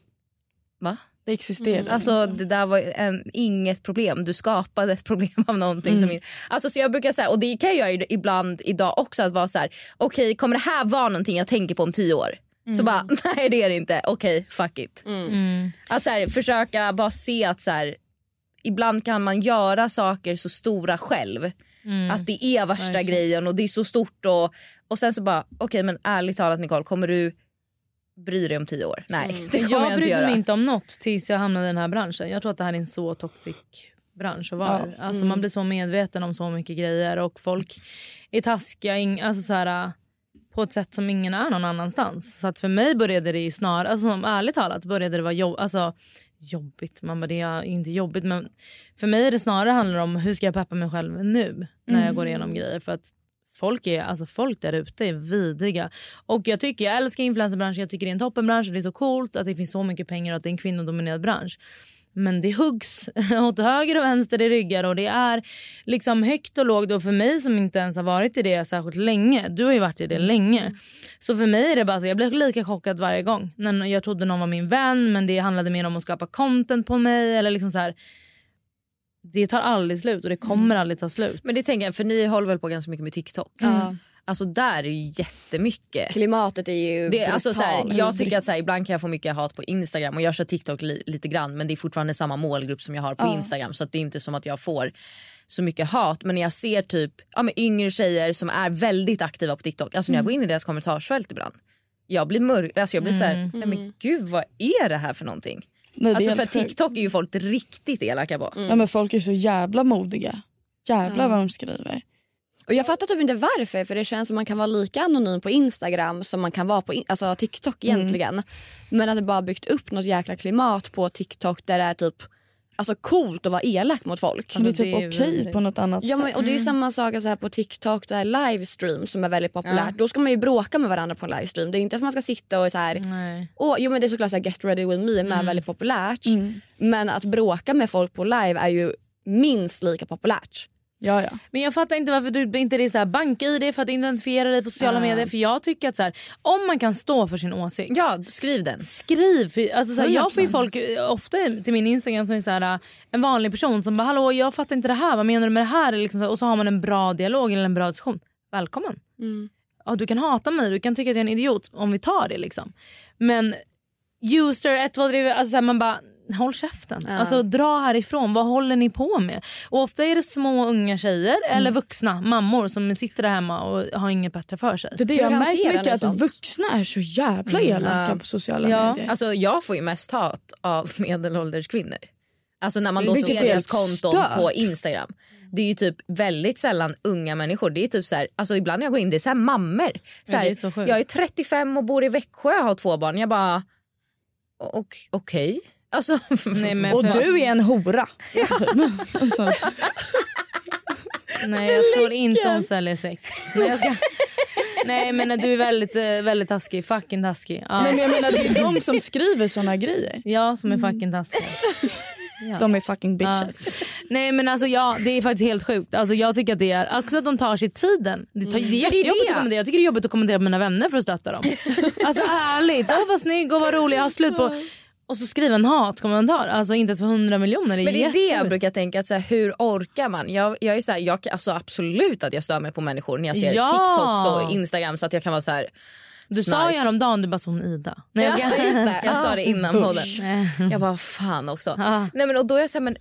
D: va?
B: Det existerar.
D: Alltså det där var en, inget problem. Du skapade ett problem av någonting som
C: Mm.
D: in, Alltså så jag brukar säga och det kan jag göra ibland idag också att vara så här okej kommer det här vara någonting jag tänker på om tio år? Så
C: Mm.
D: bara nej det är det inte. Okej fuck it. Att så här, försöka bara se att så här, ibland kan man göra saker så stora själv. Att det är värsta
C: Mm. Verkligen.
D: grejen och det är så stort. Och, och sen så bara, okej men ärligt talat Nicole, kommer du bry dig om tio år. Nej, det
C: Men
D: kommer jag,
C: Mm. jag
D: inte
C: brydde
D: göra.
C: mig inte om något tills jag hamnade i den här branschen. Jag tror att det här är en så toxic bransch att vara i. alltså,
D: mm.
C: Man blir så medveten om så mycket grejer och folk är taskiga ing- alltså, så här, äh, på ett sätt som ingen är någon annanstans. Så att för mig började det ju snarare, alltså, som ärligt talat började det vara jobb, alltså, jobbigt. Man bara, det är inte jobbigt men för mig är det snarare handlar om hur ska jag peppa mig själv nu när
D: Mm.
C: jag går igenom grejer. För att Folk, är, alltså folk där ute är vidriga. Och jag, tycker, jag älskar influencerbranschen, jag tycker det är en toppenbransch och det är så coolt att det finns så mycket pengar och att det är en kvinnodominerad bransch. Men det huggs åt höger och vänster i ryggar och det är liksom högt och lågt. Och för mig som inte ens har varit i det särskilt länge, du har ju varit i det länge. Så för mig är det bara så, jag blir lika chockad varje gång. När jag trodde någon var min vän men det handlade mer om att skapa content på mig. Eller liksom så här, det tar aldrig slut och det kommer aldrig ta slut.
D: Men det tänker jag, för ni håller väl på ganska mycket med TikTok? Alltså där är det ju jättemycket.
E: Klimatet är ju
D: Det, är alltså, så här,
E: brutalt.
D: jag tycker att så här, ibland kan jag få mycket hat på Instagram och jag kör TikTok li, lite grann men det är fortfarande samma målgrupp som jag har på Instagram så att det är inte som att jag får så mycket hat. Men när jag ser typ ja, men yngre tjejer som är väldigt aktiva på TikTok, alltså när
B: Mm.
D: jag går in i deras kommentarsfält ibland, jag blir mörk, alltså jag blir så här, nej men gud vad är det här för någonting?
B: Nej, Mm. det är
D: Alltså
B: helt
D: för
B: sjukt.
D: TikTok är ju folk riktigt elaka på.
B: Ja, men folk är så jävla modiga. Jävlar vad de skriver.
E: Och jag fattar typ inte varför för det känns som man kan vara lika anonym på Instagram som man kan vara på in- alltså TikTok
D: Mm.
E: egentligen. Men att det bara byggt upp något jäkla klimat på TikTok där det är typ alltså coolt att vara elak mot folk.
B: det är
C: Alltså,
B: typ
C: det är
B: okej
C: vidrigt.
B: på något annat
E: Ja,
B: sätt.
E: men, och det är ju samma sak så här på TikTok, det här livestream som är väldigt populärt. Då ska man ju bråka med varandra på en livestream. Det är inte att man ska sitta och så här,
C: Nej.
E: Åh, jo men det är såklart så här, Get ready with me med väldigt populärt. Men att bråka med folk på live är ju minst lika populärt.
B: Ja, ja.
C: Men jag fattar inte varför du inte är så här bank-id för att identifiera dig på sociala medier. För jag tycker att så här, om man kan stå för sin åsikt.
D: Ja, skriv den.
C: Skriv! för- Alltså, så här, jag får ju folk eh, ofta till min Instagram som är så här, eh, en vanlig person som bara “hallå jag fattar inte det här, vad menar du med det här?” Eller liksom, så här, och så har man en bra dialog eller en bra diskussion. Välkommen!
B: Mm.
C: Ja, du kan hata mig, du kan tycka att jag är en idiot om vi tar det. liksom. Men user 1, 2, 3, alltså så här, man bara håll käften. Alltså dra härifrån, vad håller ni på med? Och ofta är det små unga tjejer eller
B: Mm.
C: vuxna mammor som sitter där hemma och har inget bättre för sig.
B: Det är det
E: Hur
B: jag har märkt
E: hanterar ni
B: mycket att
E: sånt?
B: vuxna är så jävla elaka på sociala
C: Ja.
B: medier.
D: Alltså jag får ju mest hat av medelålders kvinnor. Alltså när man då
B: Vilket
D: ser
B: är
D: deras konton
B: helt
D: på
B: stört.
D: Instagram. Det är ju typ väldigt sällan unga människor. Det är typ så här, alltså ibland när jag går in, det är så här mammor. Så
C: Ja,
D: här,
C: det är så sjukt.
D: jag är 35 och bor i Växjö och har två barn. Jag bara, och, okej. Alltså,
C: Nej, men
B: och
C: för-
B: du är en hora. alltså,
C: Nej, jag tror inte hon säljer sex. Nej, jag ska... Nej men du är väldigt, eh, väldigt taskig. Fucking taskig. Ja,
B: men jag menar det är de som skriver såna grejer.
C: jag som är
D: Mm.
C: fucking taskig.
B: De är fucking
C: Ja.
B: bitches.
C: Nej men alltså ja, det är faktiskt helt sjukt. Alltså, jag tycker att det är, också att de tar sig tiden. Det,
D: Mm.
C: tar, det är jättejobbigt att kommentera. Jag tycker det är jobbigt att kommentera på mina vänner för att stötta dem. Alltså ärligt, åh vad snygg och vad rolig, jag har slut på... Och så skriver en hatkommentar, alltså inte ens för 100
D: Men
C: miljoner.
D: det är det
C: jättejobbigt.
D: jag brukar tänka, att så här, hur orkar man? Jag, jag är så här, jag, kan- alltså absolut att jag stör mig på människor när jag ser
C: Ja.
D: TikToks och Instagram så att jag kan vara så här.
C: Du sa ju häromdagen, du bara som Ida. Nej,
D: Ja,
C: jag ska...
D: just det. Jag sa det innan podden.
C: Nej.
D: Jag bara fan också.
C: Ah.
D: Nej, men, och då är jag så här, men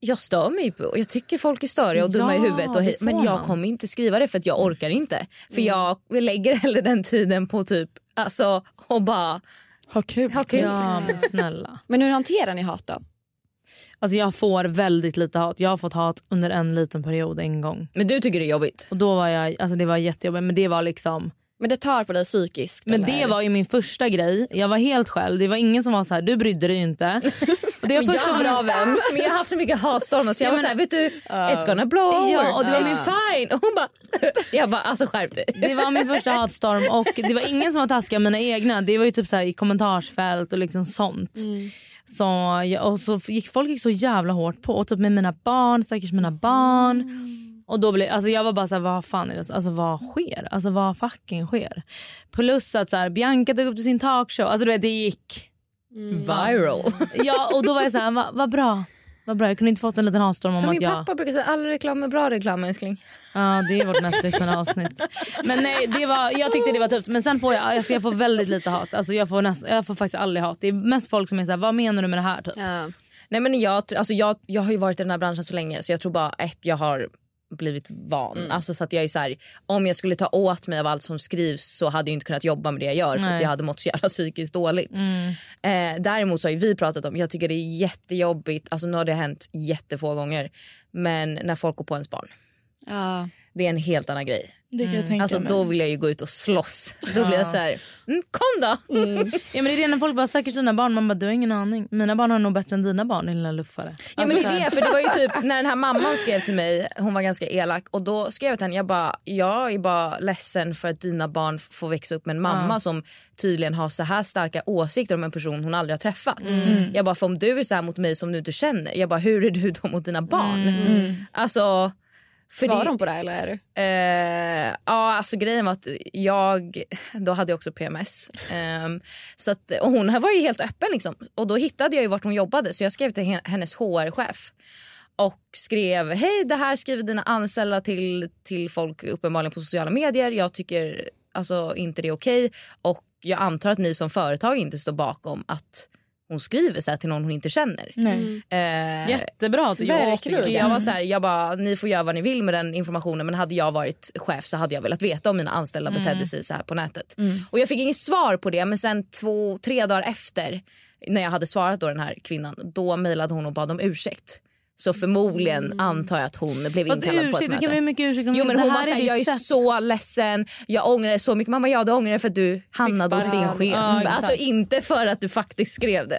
D: jag stör mig ju på och jag tycker folk är störiga och dumma i
C: Ja,
D: huvudet. Och
C: det
D: hej,
C: får
D: men jag
C: man. Mm.
D: kommer inte skriva det för att jag orkar inte. För jag lägger hellre den tiden på typ alltså och bara
B: Ha kul.
D: ha kul.
C: Ja men snälla.
E: Men hur hanterar ni hat då?
C: Alltså jag får väldigt lite hat. Jag har fått hat under en liten period en gång.
D: Men du tycker det är jobbigt.
C: Och då var jag, alltså det var jättejobbigt men det var liksom
E: Men det tar på dig psykiskt?
C: Men
E: eller?
C: det var ju min första grej. Jag var helt själv. Det var ingen som var så här, du brydde dig ju inte. Och det var första bra vän.
D: Men jag har haft så mycket hatstormar så jag
C: Ja,
D: var
C: men-
D: såhär, vet du, it's gonna blow over.
C: Ja, och det var
D: It's
C: min-
D: fine. Och hon bara, jag bara alltså skärp dig.
C: Det var min första hatstorm och det var ingen som var taskig av mina egna. Det var ju typ så här i kommentarsfält och liksom sånt.
D: Mm.
C: Så, jag- och så gick, folk gick så jävla hårt på. Och typ med mina barn, stackars mina barn. Och då blev, alltså jag var bara så här, vad fan är det? Alltså vad sker? Alltså vad fucking sker? Plus att så här, Bianca tog upp till sin talkshow. Alltså du vet, det gick. Mm.
D: Viral.
C: Ja, och då var jag så här, va- vad bra. Vad bra. Jag kunde inte fått en liten hatstorm
D: Som
C: om att
D: min
C: jag...
D: pappa brukar säga, all reklam är bra reklam älskling.
C: Ja, det är vårt mest lyssnade avsnitt. Men nej, det var, jag tyckte det var tufft. Men sen får jag, alltså jag får väldigt lite hat. Alltså jag, får näst, jag får faktiskt aldrig hat. Det är mest folk som är såhär, vad menar du med det här? Typ.
E: Ja.
D: Nej, men jag, tr- alltså jag, jag har ju varit i den här branschen så länge så jag tror bara ett, jag har blivit van. Alltså så att jag är så här, om jag skulle ta åt mig av allt som skrivs så hade jag inte kunnat jobba med det jag gör för att
C: Nej.
D: jag hade mått så jävla psykiskt dåligt. Eh, däremot så har ju vi pratat om, jag tycker det är jättejobbigt, alltså nu har det hänt jättefå gånger, men när folk går på ens barn.
B: Ja,
D: Det är en helt annan grej.
B: det kan jag tänka
D: Alltså
B: mig.
D: då vill jag ju gå ut och slåss. Då blir jag så här, mm, kom då!
C: Ja, men det är det när folk bara stackars dina barn. Man bara du har ingen aning. Mina barn har nog bättre än dina barn din lilla luffare. Alltså,
D: Ja, men det är det, för det var ju typ när den här mamman skrev till mig, hon var ganska elak och då skrev jag till henne, jag bara, jag är bara ledsen för att dina barn f- får växa upp med en mamma som tydligen har så här starka åsikter om en person hon aldrig har träffat. Jag bara, för om du är så här mot mig som du inte känner, jag bara, hur är du då mot dina barn? Alltså, för
E: Svarar
D: det-
E: hon på det här, eller?
D: Eh, ja, alltså grejen var att jag, då hade jag också PMS. Ehm, så att, och hon här var ju helt öppen liksom. Och då hittade jag ju vart hon jobbade så jag skrev till hen- hennes HR-chef. Och skrev, hej det här skriver dina anställda till, till folk uppenbarligen på sociala medier. Jag tycker alltså inte det är okej. Och jag antar att ni som företag inte står bakom att hon skriver så här till någon hon inte känner.
B: Nej.
C: Mm.
D: Eh,
C: Jättebra att du gjorde
E: Verkligen.
D: för Jag var så här, jag bara, ni får göra vad ni vill med den informationen men hade jag varit chef så hade jag velat veta om mina anställda
C: Mm.
D: betedde sig så här på nätet. Och jag fick inget svar på det men sen två, tre dagar efter när jag hade svarat då den här kvinnan då mejlade hon och bad om ursäkt. Så förmodligen antar jag att hon blev
C: Fast
D: inkallad på ett
C: Mm. ursäkt, du
D: möte.
C: kan ha hur mycket ursäkt
D: Jo men
C: det
D: hon
C: här
D: var såhär,
C: ditt
D: jag är
C: sätt.
D: så ledsen, jag ångrar det så mycket. Mamma ja du ångrar det för att du hamnade hos din
C: sparken.
D: chef.
C: Ja, exakt.
D: alltså inte för att du faktiskt skrev det.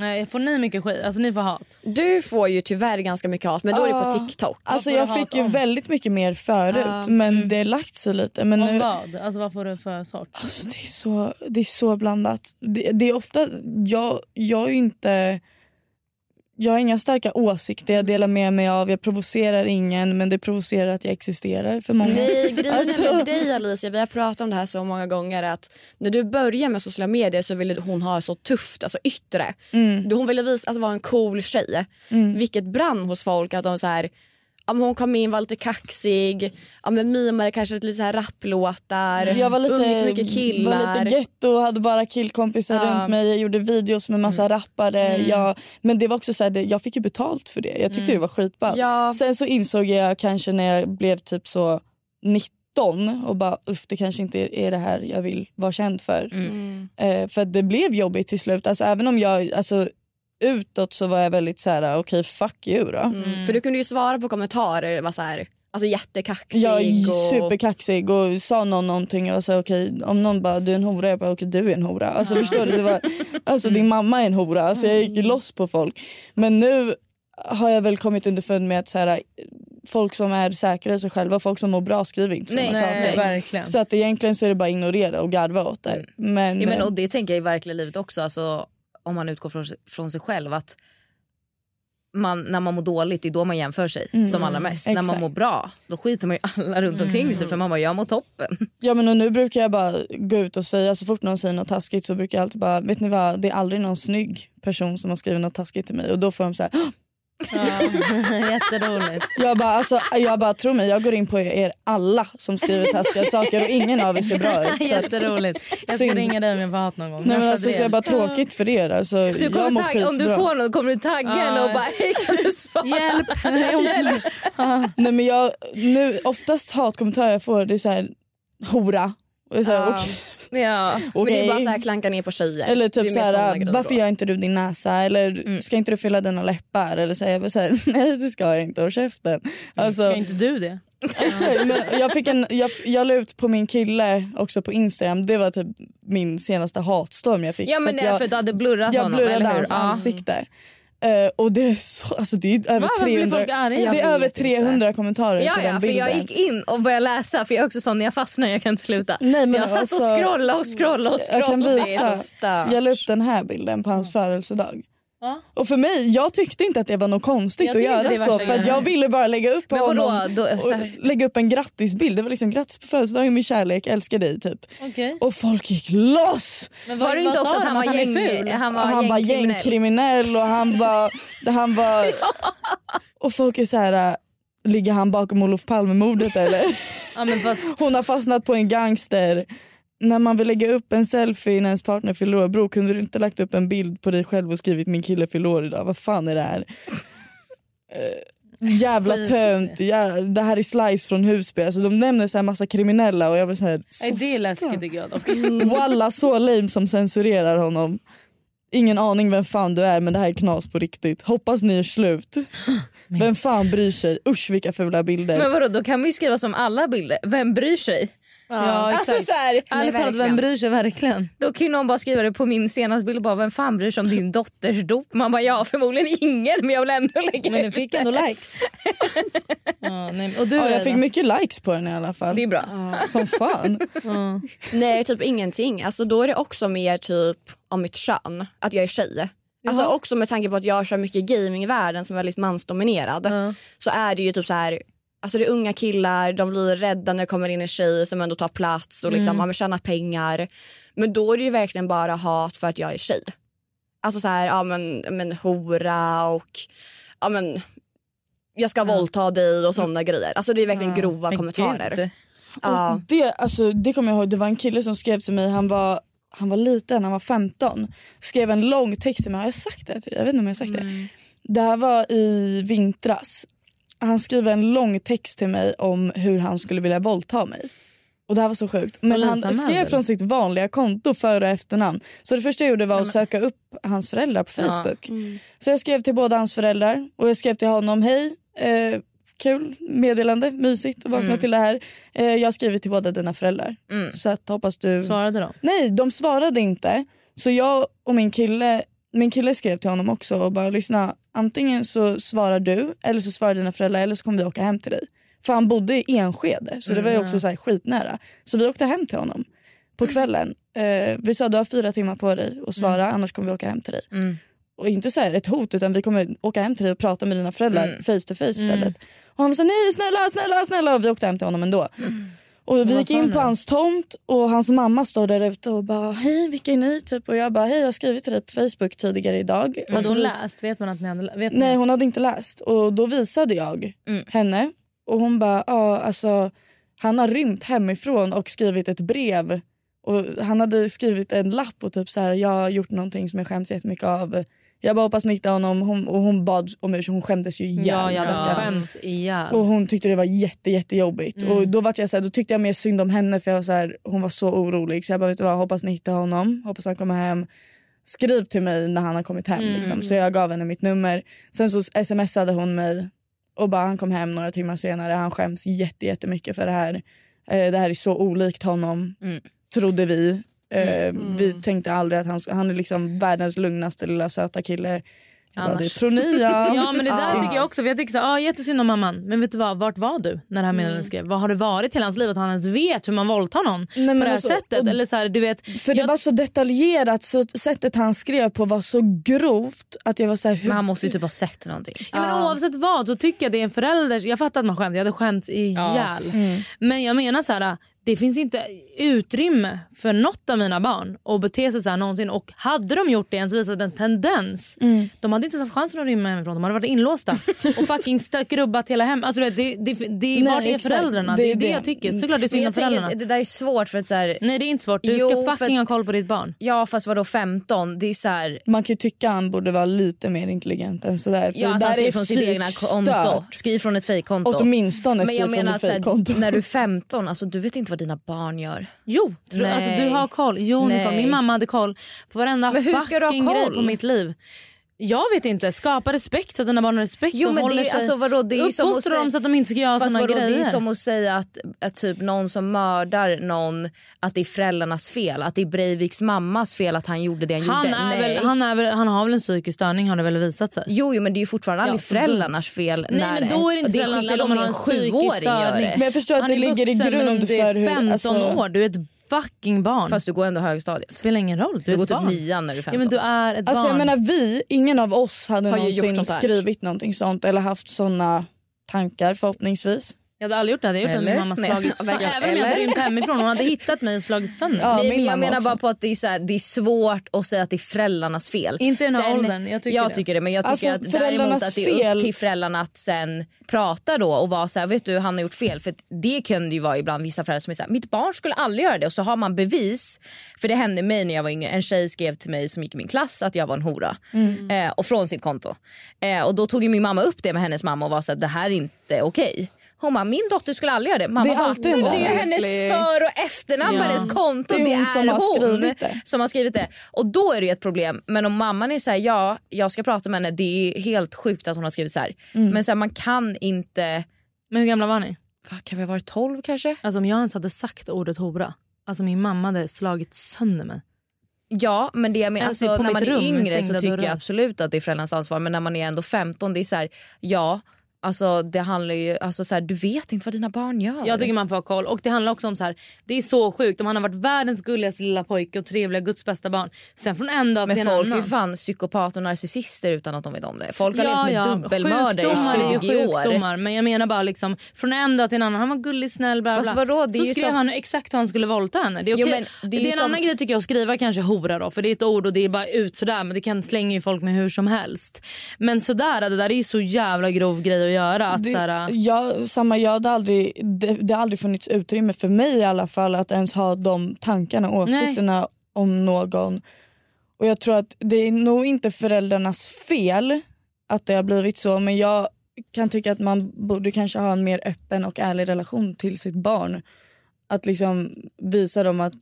C: Nej, får ni mycket skit? Alltså ni får hat.
E: Du får ju tyvärr ganska mycket hat, men då är det på
B: Ah.
E: TikTok.
B: Alltså
C: Vad får
B: jag
C: du
B: fick
C: hat
B: ju
C: om?
B: väldigt mycket mer förut men det har lagt sig lite. Men
C: Om
B: nu,
C: vad? Alltså vad får du för sort?
B: alltså, det, är så, det är så blandat. Det, det är ofta, jag, jag är ju inte, jag har inga starka åsikter jag delar med mig av. Jag provocerar ingen men det provocerar att jag existerar för många.
E: Nej, grejen
B: Alltså-
E: med dig Alicia, vi har pratat om det här så många gånger att när du började med sociala medier så ville hon ha det så tufft, alltså yttre.
B: Mm.
E: Då Hon ville visa, alltså vara en cool tjej. Vilket brann hos folk att de så här, ja, men hon kom in, var lite kaxig, ja, men mimade kanske lite så här rapplåtar,
B: Jag var lite,
E: umgicks med mycket killar.
B: var lite getto och hade bara killkompisar
E: Ja.
B: runt mig. Jag gjorde videos med massa rappare. Jag, men det var också så här, det, jag fick ju betalt för det. Jag tyckte det var skitballt.
E: Ja.
B: Sen så insåg jag kanske när jag blev typ så 19 och bara uff det kanske inte är- är det här jag vill vara känd för.
E: Mm.
B: Eh, för att det blev jobbigt till slut. Alltså, även om jag alltså, utåt så var jag väldigt så här: okej fuck you då.
E: Mm. För du kunde ju svara på kommentarer, var så här, alltså jättekaxig.
B: Jag är
E: och-
B: superkaxig och sa någon någonting och sa okej om någon bara du är en hora jag bara okej du är en hora. Alltså förstår du? Det var, alltså
D: Mm.
B: din mamma är en hora. Alltså jag gick ju loss på folk. Men nu har jag väl kommit underfund med att så här, folk som är säkra i sig själva, folk som mår bra skriver inte sådana
D: nej,
B: saker.
C: verkligen.
B: Så att egentligen så är det bara ignorera och garva åt det. Men,
D: Mm. Ja, men, och det tänker jag i verkliga livet också. Alltså, om man utgår från, från sig själv. att man, När man mår dåligt, det är då man jämför sig som allra mest. När
B: exakt.
D: man mår bra, då skiter man ju alla runt omkring sig. För man bara, jag mår toppen.
B: ja, men och nu brukar jag bara gå ut och säga, så fort någon säger något taskigt så brukar jag alltid bara, vet ni vad, det är aldrig någon snygg person som har skrivit något taskigt till mig och då får de så här,
C: Jätteroligt.
B: Jag bara, alltså, jag bara, tro mig, jag går in på er alla som skriver taskiga saker och ingen av er ser bra ut. Så att,
C: Jätteroligt. Jag ska
B: Synd.
C: ringa dig om jag får hat någon gång.
B: nej, men
C: Nästa
B: alltså, så
C: brev.
B: jag bara, tråkigt för er. Alltså,
D: Du
B: jag mår
D: kommer tagga, om du
B: skitbra.
D: får något kommer du tagga henne och bara, hej kan du svara?
C: Hjälp! Nej, hon-
B: Nej, men jag, nu, oftast hatkommentarer jag får det är så här, hora. Och jag är så här,
E: Ja.
B: okej,
D: Ja.
E: Men det är bara
B: okej.
E: så här klanka ner på tjejer.
B: Eller
E: Det är
B: typ
E: mer
B: så
E: såna
B: här,
E: grejer
B: varför
E: då.
B: gör inte du din näsa? Eller
D: Mm.
B: ska inte du fylla dina läppar? Eller så här, jag bara så här, nej det ska jag inte, och käften.
D: Mm,
B: Alltså,
C: Ska inte du det?
B: Exakt, men jag, fick en, jag, jag la ut på min kille också på Instagram. Det var typ min senaste hatstorm jag fick.
D: ja men
B: för
D: det
B: att
D: är
B: jag,
D: för att du hade blurrat
B: jag
D: honom,
B: blurrade
D: eller hur?
B: hans
D: Ja.
B: ansikte. Eh, och det är så, alltså det är ju över
C: Va, varför blir
B: 300,
C: folk arga?
B: det
E: Jag
B: är över
E: vet
B: 300 kommentarer
D: Ja,
B: på
D: ja,
B: den
D: för
B: bilden.
D: jag gick in och började läsa för jag är också sån när jag fastnar jag kan inte sluta.
B: Nej,
D: så
B: men
D: jag satt
B: alltså-
D: och scrollade och scrollade och
B: jag kan
D: scrollade.
B: visa.
E: stört.
B: Jag la upp den här bilden på hans födelsedag.
C: Ja.
B: Och för mig, jag tyckte inte att det var något konstigt
C: Jag
B: att
C: tycker inte
B: göra
C: det är
B: så
C: värsta
B: för att jag
C: grejen.
B: ville bara lägga upp
D: Men vadå,
B: honom
D: då- så här-
B: och lägga upp en grattisbild. Det var liksom grattis på födelsedagen min kärlek, älskar dig typ.
C: Okej.
B: Och folk gick loss!
C: Men vad-
D: Var det inte
C: vad
D: också
C: sa
D: att
C: de?
D: han var,
C: är
D: gäng,
C: ful?
D: han var,
B: Och han var gängkriminell och han var... det han var och folk är så här, äh, ligger han bakom Olof Palme-mordet eller?
C: Ja, men fast,
B: Hon har fastnat på en gangster. När man vill lägga upp en selfie innan ens partner fyller år, bror kunde du inte lagt upp en bild på dig själv och skrivit min kille fyller år idag? Vad fan är det här? Eh, Jävla
C: Skit.
B: tönt, jä, det här är Slice från Husby. Alltså, de nämner så här massa kriminella och jag blir så här...
C: Nej,
B: Så,
C: det är läskigt tycker jag dock.
B: walla så lame som censurerar honom. Ingen aning vem fan du är men det här är knas på riktigt. Hoppas ni är slut. Vem fan bryr sig? Usch vilka fula bilder.
D: Men vadå, då kan man ju skriva som alla bilder. Vem bryr sig?
C: Ja, exakt.
D: Alltså så här,
C: Ärligt talat, vem bryr sig verkligen?
D: då kan ju någon bara skriva det på min senaste bild bara vem fan bryr sig om din dotters dop? Man bara ja förmodligen ingen men jag vill ändå lägga
C: Men
D: ut
C: den fick ändå likes. ja, nej, men- och du
B: ja, jag
C: Ida?
B: fick mycket likes på den i alla fall.
D: Det är bra.
B: Som fan.
C: Ja.
E: Nej, typ ingenting. Alltså, då är det också mer typ om mitt kön, att jag är tjej. Alltså också med tanke på att jag kör mycket gaming i världen som är väldigt mansdominerad. Så är det ju typ så här, alltså det är unga killar, de blir rädda när det kommer in en tjej som ändå tar plats och liksom, ja, men tjänar pengar. Men då är det ju verkligen bara hat för att jag är tjej. Alltså så här, ja men, men hora och ja men jag ska våldta dig och sådana grejer. Alltså det är verkligen grova kommentarer. Ja.
B: Och det, alltså, det kommer jag ihåg, det var en kille som skrev till mig, han var, han var liten, han var 15. Skrev en lång text till mig, har jag sagt det? till dig? Jag vet inte om jag har sagt det. Det här var i vintras. Han skrev en lång text till mig om hur han skulle vilja våldta mig. Och det här var så sjukt. Men
C: Polisanmäld,
B: han skrev
C: eller?
B: från sitt vanliga konto före och efternamn. Så det första jag gjorde var att söka upp hans föräldrar på Facebook. Så jag skrev till båda hans föräldrar och jag skrev till honom, hej, eh, kul meddelande, mysigt att vakna till det här. Eh, jag har skrivit till båda dina föräldrar. Så att hoppas du...
C: Svarade de?
B: Nej, de svarade inte. Så jag och min kille, min kille skrev till honom också och bara lyssna, antingen så svarar du eller så svarar dina föräldrar eller så kommer vi åka hem till dig. För han bodde i Enskede så det var ju också så här skitnära. Så vi åkte hem till honom på kvällen. Eh, vi sa du har fyra timmar på dig att svara annars kommer vi åka hem till dig. Och inte så här ett hot utan vi kommer åka hem till dig och prata med dina föräldrar face to face istället. Och han var så här, nej snälla snälla snälla och vi åkte hem till honom ändå. Och vi gick in på hans tomt och hans mamma stod där ute och bara hej vilka är ni? Typ. Och jag bara hej jag har skrivit till dig på Facebook tidigare idag. Och
C: Hade
B: så
C: hon
B: vis-
C: läst? Vet man att ni hade lä- vet
B: Nej
C: ni?
B: hon hade inte läst och då visade jag
C: Mm.
B: henne och hon bara ja alltså han har rymt hemifrån och skrivit ett brev och han hade skrivit en lapp och typ så här jag har gjort någonting som jag skäms jättemycket av. Jag bara hoppas ni hittar honom hon, och hon bad om ursäkt hon skämdes ju ihjäl
C: Ja, jag
B: stackarn.
C: hade skämts ihjäl.
B: Och hon tyckte det var jätte, jättejobbigt. Och då, vart jag så här, då tyckte jag mer synd om henne för jag var så här, hon var så orolig. Så jag bara, vet du vad, hoppas ni hittar honom. Hoppas han kommer hem. Skriv till mig när han har kommit hem. Liksom. Så jag gav henne mitt nummer. Sen så smsade hon mig och bara han kom hem några timmar senare. Han skäms jätte, jättemycket för det här. Eh, det här är så olikt honom, trodde vi. Eh, Vi tänkte aldrig att han, han är liksom världens lugnaste lilla söta kille. Jag bara, det
D: Annars.
B: tror ni ja.
C: Ja men det där tycker jag också. För jag tycker så, här, ah, jättesynd om mamman. Men vet du vad, vart var du när det här meddelandet skrevs? Vad har det varit hela hans liv att han ens vet hur man våldtar någon
B: men
C: på det här
B: alltså,
C: sättet?
B: och-
C: Eller så här, du vet,
B: För det
C: jag,
B: var så detaljerat, så sättet han skrev på var så grovt att jag var så här, hur...
D: Men han måste ju typ ha sett någonting.
C: ja, men oavsett vad så tycker jag det är en förälders... Jag fattar att man skämt, jag hade skämt ihjäl.
D: Mm.
C: Men jag menar så här, det finns inte utrymme för något av mina barn att bete sig så här någonsin. Och hade de gjort det ens visat en tendens,
D: Mm.
C: de hade inte ens haft chansen att rymma hemifrån. De hade varit inlåsta och fucking stök, rubbat hela hem. Alltså, du vet, det, det, det, det,
B: Nej,
C: vart är
B: exakt.
C: föräldrarna?
B: Det
C: Det,
B: är
C: är det,
B: det.
C: jag tycker. Såklart det är
D: Men
C: synd om
D: jag tänker
C: föräldrarna.
D: att det där är svårt för att så här,
C: Nej det är inte svårt. Du
D: Jo,
C: ska
D: för
C: fucking
D: att-
C: ha koll på ditt barn.
D: ja fast vadå 15? Det är så här,
B: Man kan ju tycka han borde vara lite mer intelligent än sådär. För
D: ja, att
B: det
D: han
B: där
D: skriver
B: är
D: från sitt egna
B: psykstört.
D: konto. Skriv från ett fejkkonto.
B: Åtminstone
D: Men
B: skriv
D: jag
B: från
D: menar
B: ett
D: att så
B: fejkkonto.
D: här, när du är 15, alltså, du vet inte vad dina barn gör.
C: Jo, tror,
D: Nej.
C: alltså, du har koll. Jo, Nicole,
D: Nej.
C: min mamma hade koll på varenda
D: Men hur ska du ha
C: fucking grej
D: koll?
C: på mitt liv. Jag vet inte. Skapa respekt så att dina barn har respekt.
D: Jo,
C: och
D: men det är-
C: håller sig.
D: alltså, vadå, det är ju som att
C: Uppfostra dem
D: säga-
C: så att de inte ska göra
D: Fast
C: såna
D: vadå,
C: grejer.
D: det är som att säga att, att typ någon som mördar någon, att det är föräldrarnas fel. Att det är Breiviks mammas fel att han gjorde det han,
C: han,
D: gjorde.
C: är
D: Nej.
C: väl, han, är väl, han har väl en psykisk störning har det väl visat sig.
D: Jo, jo, men det är ju fortfarande aldrig
C: Ja,
D: föräldrarnas fel.
C: Nej,
D: när
C: men då är det inte
D: och det är
C: föräldrarnas
D: skillnad
C: fel om
D: om
C: man
D: det är en
C: har en psykisk
D: sjuåring gör
C: störning.
D: det.
B: Men jag förstår att
C: han
B: det
C: är
B: ligger i
C: vuxen, men om
B: grund
C: du är
B: för hur...
C: 15
B: alltså,
C: år, du är ett fucking barn.
D: Fast du går ändå högstadiet.
C: det spelar ingen roll, du
D: Du
C: är
D: går
C: ett
D: typ
C: barn.
D: nian när du är 15.
C: ja, men du är ett
B: Alltså
C: barn.
B: jag menar vi, ingen av oss hade
E: Har ju gjort
B: någonsin
E: sånt här.
B: skrivit någonting sånt eller haft såna tankar förhoppningsvis.
C: Jag hade aldrig gjort det. Hade jag gjort det
D: Eller?
C: hade min mamma
D: Nej,
C: slagit
D: så-
C: sönder.
D: verkligen.
C: Även om jag hade
D: Eller?
C: rymt hemifrån. Hon hade hittat mig och slagit sönder mig.
B: Ja,
D: Nej,
B: min
D: men jag
B: mamma
D: menar
B: också.
D: bara på att det är, så här, det är svårt att säga att det är föräldrarnas fel.
C: Inte i den här åldern, jag tycker det.
D: det. Men jag tycker
B: Alltså,
D: att däremot
B: föräldrarnas
D: att det är upp
B: fel-
D: till föräldrarna att sen prata då och vara så här, vet du han har gjort fel. För det kunde ju vara ibland vissa föräldrar som är så här, mitt barn skulle aldrig göra det. Och så har man bevis. För det hände mig när jag var yngre. En tjej skrev till mig som gick i min klass att jag var en hora.
B: Mm.
D: Eh, och från sitt konto. Eh, och då tog ju min mamma upp det med hennes mamma och var så här, det här är inte okej. Hon bara, min dotter skulle aldrig göra det. Mamma
B: Det är
D: bara,
B: alltid en
D: men det är ju
B: vanlig
D: hennes för och efternamn på
C: Ja.
D: hennes konto.
B: Det är
D: Det är
B: hon som har
D: hon
B: skrivit det.
D: som har skrivit det. Och då är det ju ett problem. Men om mamman är så här, ja, jag ska prata med henne. Det är helt sjukt att hon har skrivit så här.
C: Mm.
D: Men så här, man kan inte...
C: Men hur gamla var ni?
D: Vad, kan vi ha varit 12 kanske?
C: Alltså, om jag ens hade sagt ordet hora. Alltså min mamma hade slagit sönder mig.
D: Ja, men det jag menar,
C: Alltså,
D: alltså,
C: på
D: när
C: mitt
D: man är
C: rum med
D: yngre så
C: stängda
D: tycker
C: dörrar.
D: jag absolut att det är föräldrarnas ansvar. Men när man är ändå 15, det är så här, ja, alltså det handlar ju, alltså så här, du vet inte vad dina barn gör.
C: Jag tycker man får ha koll. Och det handlar också om så här, det är så sjukt om han har varit världens gulligaste lilla pojke och trevliga Guds bästa barn. Sen från en dag till
D: men
C: en
D: folk är
C: annan.
D: ju fan psykopater och narcissister utan att de vet om det. Folk har
C: Ja,
D: levt med
C: ja.
D: dubbelmördare
C: Sjukdomar är
D: i
C: ju
D: 20 år.
C: sjukdomar, Men jag menar bara liksom, från en dag till en annan. Han var gullig, snäll, bla bla.
D: Fast vadå, det är
C: så
D: ju
C: skrev
D: som-
C: han exakt hur han skulle våldta henne. Det är,
D: Jo,
C: okej.
D: men det
C: det är,
D: är ju
C: en
D: som-
C: annan grej tycker jag att skriva kanske hora då. För det är ett ord och det är bara ut sådär. Men det kan slänga ju folk med hur som helst. Men sådär, det där är ju så jävla grov grej att göra. Att
B: Det,
C: såhär,
B: jag, samma, jag hade aldrig, det, det har aldrig funnits utrymme för mig i alla fall att ens ha de tankarna och åsikterna om någon. Och jag tror att det är nog inte föräldrarnas fel att det har blivit så men jag kan tycka att man borde kanske ha en mer öppen och ärlig relation till sitt barn. Att liksom visa dem att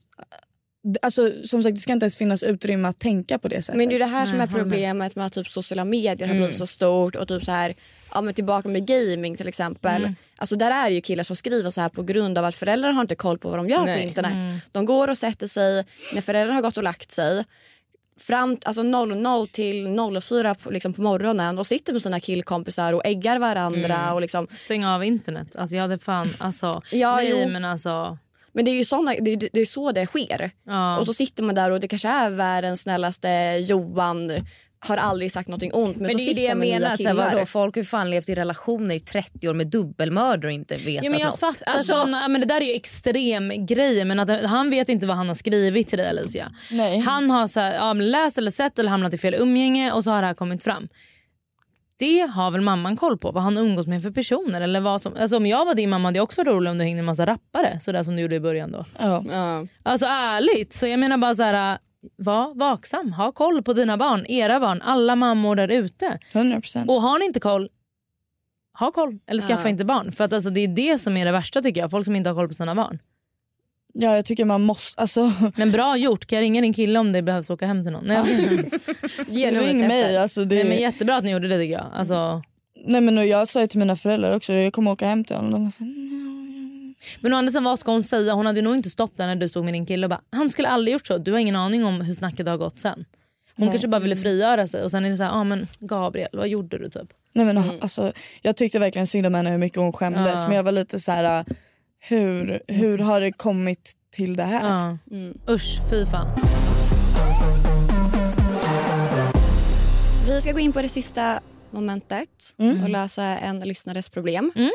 B: Alltså, som sagt, det ska inte ens finnas utrymme att tänka på det sättet.
E: Men det är ju det här som
C: Nej,
E: är
C: jag Mm, håller med. Mm.
E: problemet med att typ sociala medier har blivit så stort och typ så här, ja men tillbaka med gaming till exempel.
C: Mm.
E: Alltså där är det ju killar som skriver så här på grund av att föräldrar har inte koll på vad de gör på internet.
C: Mm.
E: De går och sätter sig när föräldrarna har gått och lagt sig fram alltså 00 till 04 på, liksom på morgonen och sitter med sina killkompisar och äggar varandra.
C: Mm.
E: Och liksom.
C: Stäng av internet. Alltså jag hade fan, alltså.
E: Ja,
C: nej
E: jo.
C: men alltså.
E: Men det är ju såna, det, är- det är så det sker.
C: Ja.
E: Och så sitter man där och det kanske är världens snällaste Johan har aldrig sagt någonting ont men,
D: Men
E: så
D: det är ju
E: sitter
D: det jag
E: man med
D: menar.
E: nya
D: att Så här,
E: killar.
D: vadå, folk har ju fan levt i relationer i 30 år med dubbelmördare och inte vetat
C: Ja, men jag
D: något.
C: fattar.
D: Alltså,
C: såna- ja, men det där är ju extrem grejer. Men att han vet inte vad han har skrivit till dig Alicia.
B: Nej.
C: Han har så här, ja, men läst eller sett eller hamnat i fel umgänge och så har det här kommit fram. Det har väl mamman koll på, vad han umgås med för personer. Eller vad som, alltså om jag var din mamma hade jag också varit orolig om du hängde med en massa rappare. Sådär som du gjorde i början då.
B: ja.
E: Ja.
C: Alltså ärligt, så jag menar bara så här. äh, Var vaksam, ha koll på dina barn, era barn, alla mammor där ute.
B: 100%.
C: Och har ni inte koll, ha koll. Eller skaffa inte barn. För att alltså, det är det som är det värsta tycker jag. Folk som inte har koll på sina barn.
B: Ja, jag tycker man måste... Alltså,
C: Men bra gjort. Kan jag ringa din kille om det behövs åka hem till någon? Nej,
E: Ge numret
B: ring
E: efter.
B: mig. Alltså, det,
C: nej men jättebra att ni gjorde det tycker jag. Alltså,
B: Nej men och jag sa ju till mina föräldrar också, jag kommer åka hem till honom. De var så här, "Nej."
C: men å andra sidan, vad ska hon säga? Hon hade ju nog inte stått där när du stod med din kille och bara, han skulle aldrig gjort så. Du har ingen aning om hur snacket har gått sen. Hon kanske bara ville frigöra sig och sen är det så här, ah, men Gabriel, vad gjorde du typ?
B: Nej, men, alltså, jag tyckte verkligen synd om henne hur mycket hon skämdes
C: Ja.
B: men jag var lite så här. äh, Hur, hur har det kommit till det här?
C: Ja. Usch, fy fan.
E: Vi ska gå in på det sista momentet och lösa en lyssnares problem.
C: Mm.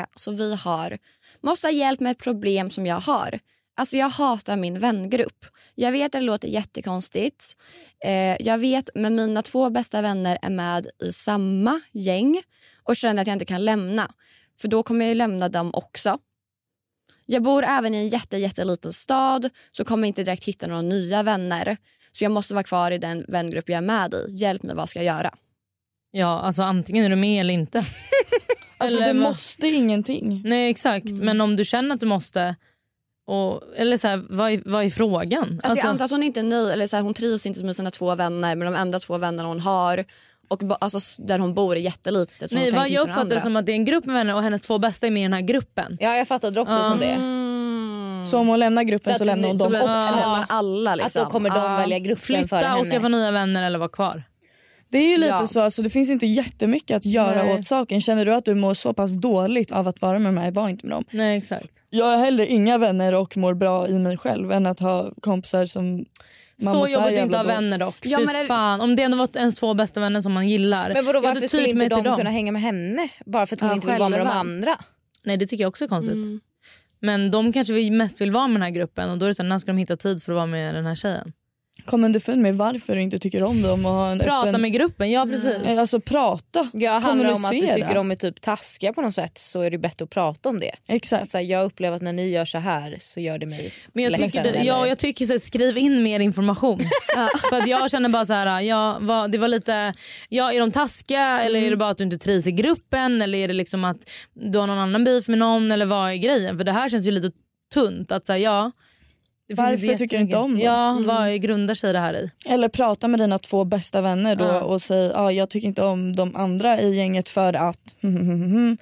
E: Eh, så vi har, måste ha hjälp med ett problem som jag har. Alltså jag hatar min vängrupp. Jag vet att det låter jättekonstigt. Eh, jag vet men mina två bästa vänner är med i samma gäng och känner att jag inte kan lämna. För då kommer jag ju lämna dem också. Jag bor även i en jätte, jätteliten stad så kommer jag inte direkt hitta några nya vänner. Så jag måste vara kvar i den vängrupp jag är med i. Hjälp mig, vad ska jag göra? Alltså,
C: Ja, alltså antingen är du med eller inte.
B: Alltså
C: Eller
B: det
C: vad- Mm.
B: måste ingenting.
C: Nej exakt, men om du känner att du måste, och, eller så här, vad, är, vad är frågan?
E: Alltså, jag antar att hon inte är nöjd, eller så här, hon trivs inte med sina två vänner men de enda två vännerna hon har och ba- alltså, s- där hon bor är jättelitet. Så
C: nej,
E: hon kan
C: vad
E: inte
C: jag
E: hitta några
C: uppfattar det
E: andra.
C: som att det är en grupp med vänner och hennes två bästa är med i den här gruppen.
D: ja, jag fattade det också som det.
E: Mm.
B: Så om hon lämnar gruppen så,
E: att
B: lämnar hon
E: ni- så
B: dem
E: lämnar-
B: också.
E: så lämnar alla liksom.
D: Att då Alltså, kommer de
E: Ah.
D: välja gruppen för
C: Flytta
D: henne.
C: och skaffa nya vänner eller vara kvar.
B: Det är ju lite
E: Ja.
B: så, alltså, det finns inte jättemycket att göra
C: Nej.
B: åt saken. Känner du att du mår så pass dåligt av att vara med mig, var inte med dem.
C: Nej exakt.
B: Jag har hellre inga vänner och mår bra i mig själv än att ha kompisar som man mår
C: så
B: här
C: jobbigt att inte
B: jävla
C: ha
B: dåligt.
C: vänner dock.
E: Ja,
C: Fy
E: men det-
C: fan. Om det ändå var ens två bästa vänner som man gillar.
D: Men vadå,
C: ja, då
D: varför skulle
C: typ
D: inte
C: mig till
D: de kunna hänga med henne? Bara för att hon
E: Ja,
D: inte vill vara med de
E: själva.
D: andra?
C: Nej, det tycker jag också är konstigt. Men de kanske vi mest vill vara med den här gruppen och då är det så här, när ska de hitta tid för att vara med den här tjejen?
B: Kom underfund med varför du inte tycker om dem och ha en
C: Prata
B: öppen...
C: med gruppen, ja precis.
B: Eh, Alltså prata.
D: Ja, handlar det om att du
B: Kommunicera.
D: tycker de är typ taskiga på något sätt så är det bättre att prata om det.
B: Exakt.
D: Så här, jag upplever att när ni gör så här så gör det mig
C: Men jag
D: ledsen.
C: tycker, det, ja,
D: eller-
C: jag tycker så här, skriv in mer information. För att jag känner bara så här, ja, vad, det var lite, ja, är de taskiga eller
B: Mm.
C: är det bara att du inte trivs i gruppen eller är det liksom att du har någon annan beef med någon eller vad är grejen? För det här känns ju lite tunt att säga ja. det finns
B: Varför
C: inte
B: tycker du inte om Mm.
C: jättemycket-
B: dem?
C: Ja, vad grundar sig det här i?
B: Eller prata med dina två bästa vänner då
C: Ja.
B: och säg ah, jag tycker inte om de andra i gänget för att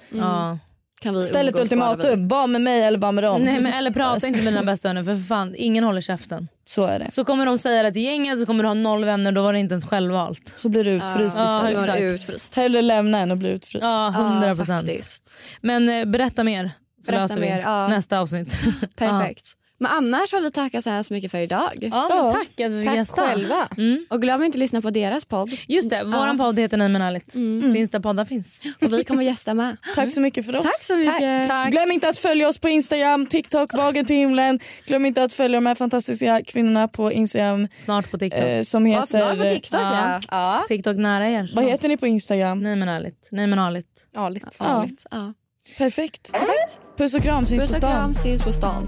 C: Ja.
E: Kan vi
B: Ställ ett
E: umgås bara vi-
B: ultimatum, var med mig eller var med dem. Alltså,
C: Nej, men, eller prata inte med dina bästa vänner för fan, ingen håller käften.
B: Så är det.
C: Så kommer de säga det till gänget så kommer du ha noll vänner då var det inte ens självvalt.
B: Så blir du utfryst
C: Ja,
B: istället.
C: exakt.
E: Utfryst.
B: Hellre lämna än att bli utfryst.
C: Ja, hundra
E: Ja,
C: procent.
E: faktiskt.
C: Men eh, berätta mer så
E: Berätta
C: löser vi
E: mer, ja.
C: nästa avsnitt.
E: Perfekt. Men annars har vi tackat så här så mycket för idag.
C: ja, men tack att vi fick
D: Tack
C: gästa.
D: själva.
C: Mm.
E: Och glöm inte att lyssna på deras podd.
C: Just det, vår
E: Ja. Mm.
C: podd heter Nej men ärligt. Finns där poddar finns.
E: Och vi kommer gästa med.
B: Tack så mycket för oss.
E: Tack så mycket.
C: Tack.
B: Glöm inte att följa oss på Instagram, TikTok, Vagen till himlen. Glöm inte att följa de här fantastiska kvinnorna på Instagram
C: Snart på TikTok.
B: eh, som heter...
E: Ja, snart på TikTok.
C: Ja.
E: Ja. Ja.
C: TikTok nära er.
B: Vad
C: Snart.
B: heter ni på Instagram?
C: Nej men ärligt. Nej men ärligt.
D: Ärligt.
B: Ja,
E: Ja.
B: perfekt.
E: Perfekt.
B: Puss och kram, syns
E: Puss
B: på
E: och
B: stan.
E: kram. Ses på stan.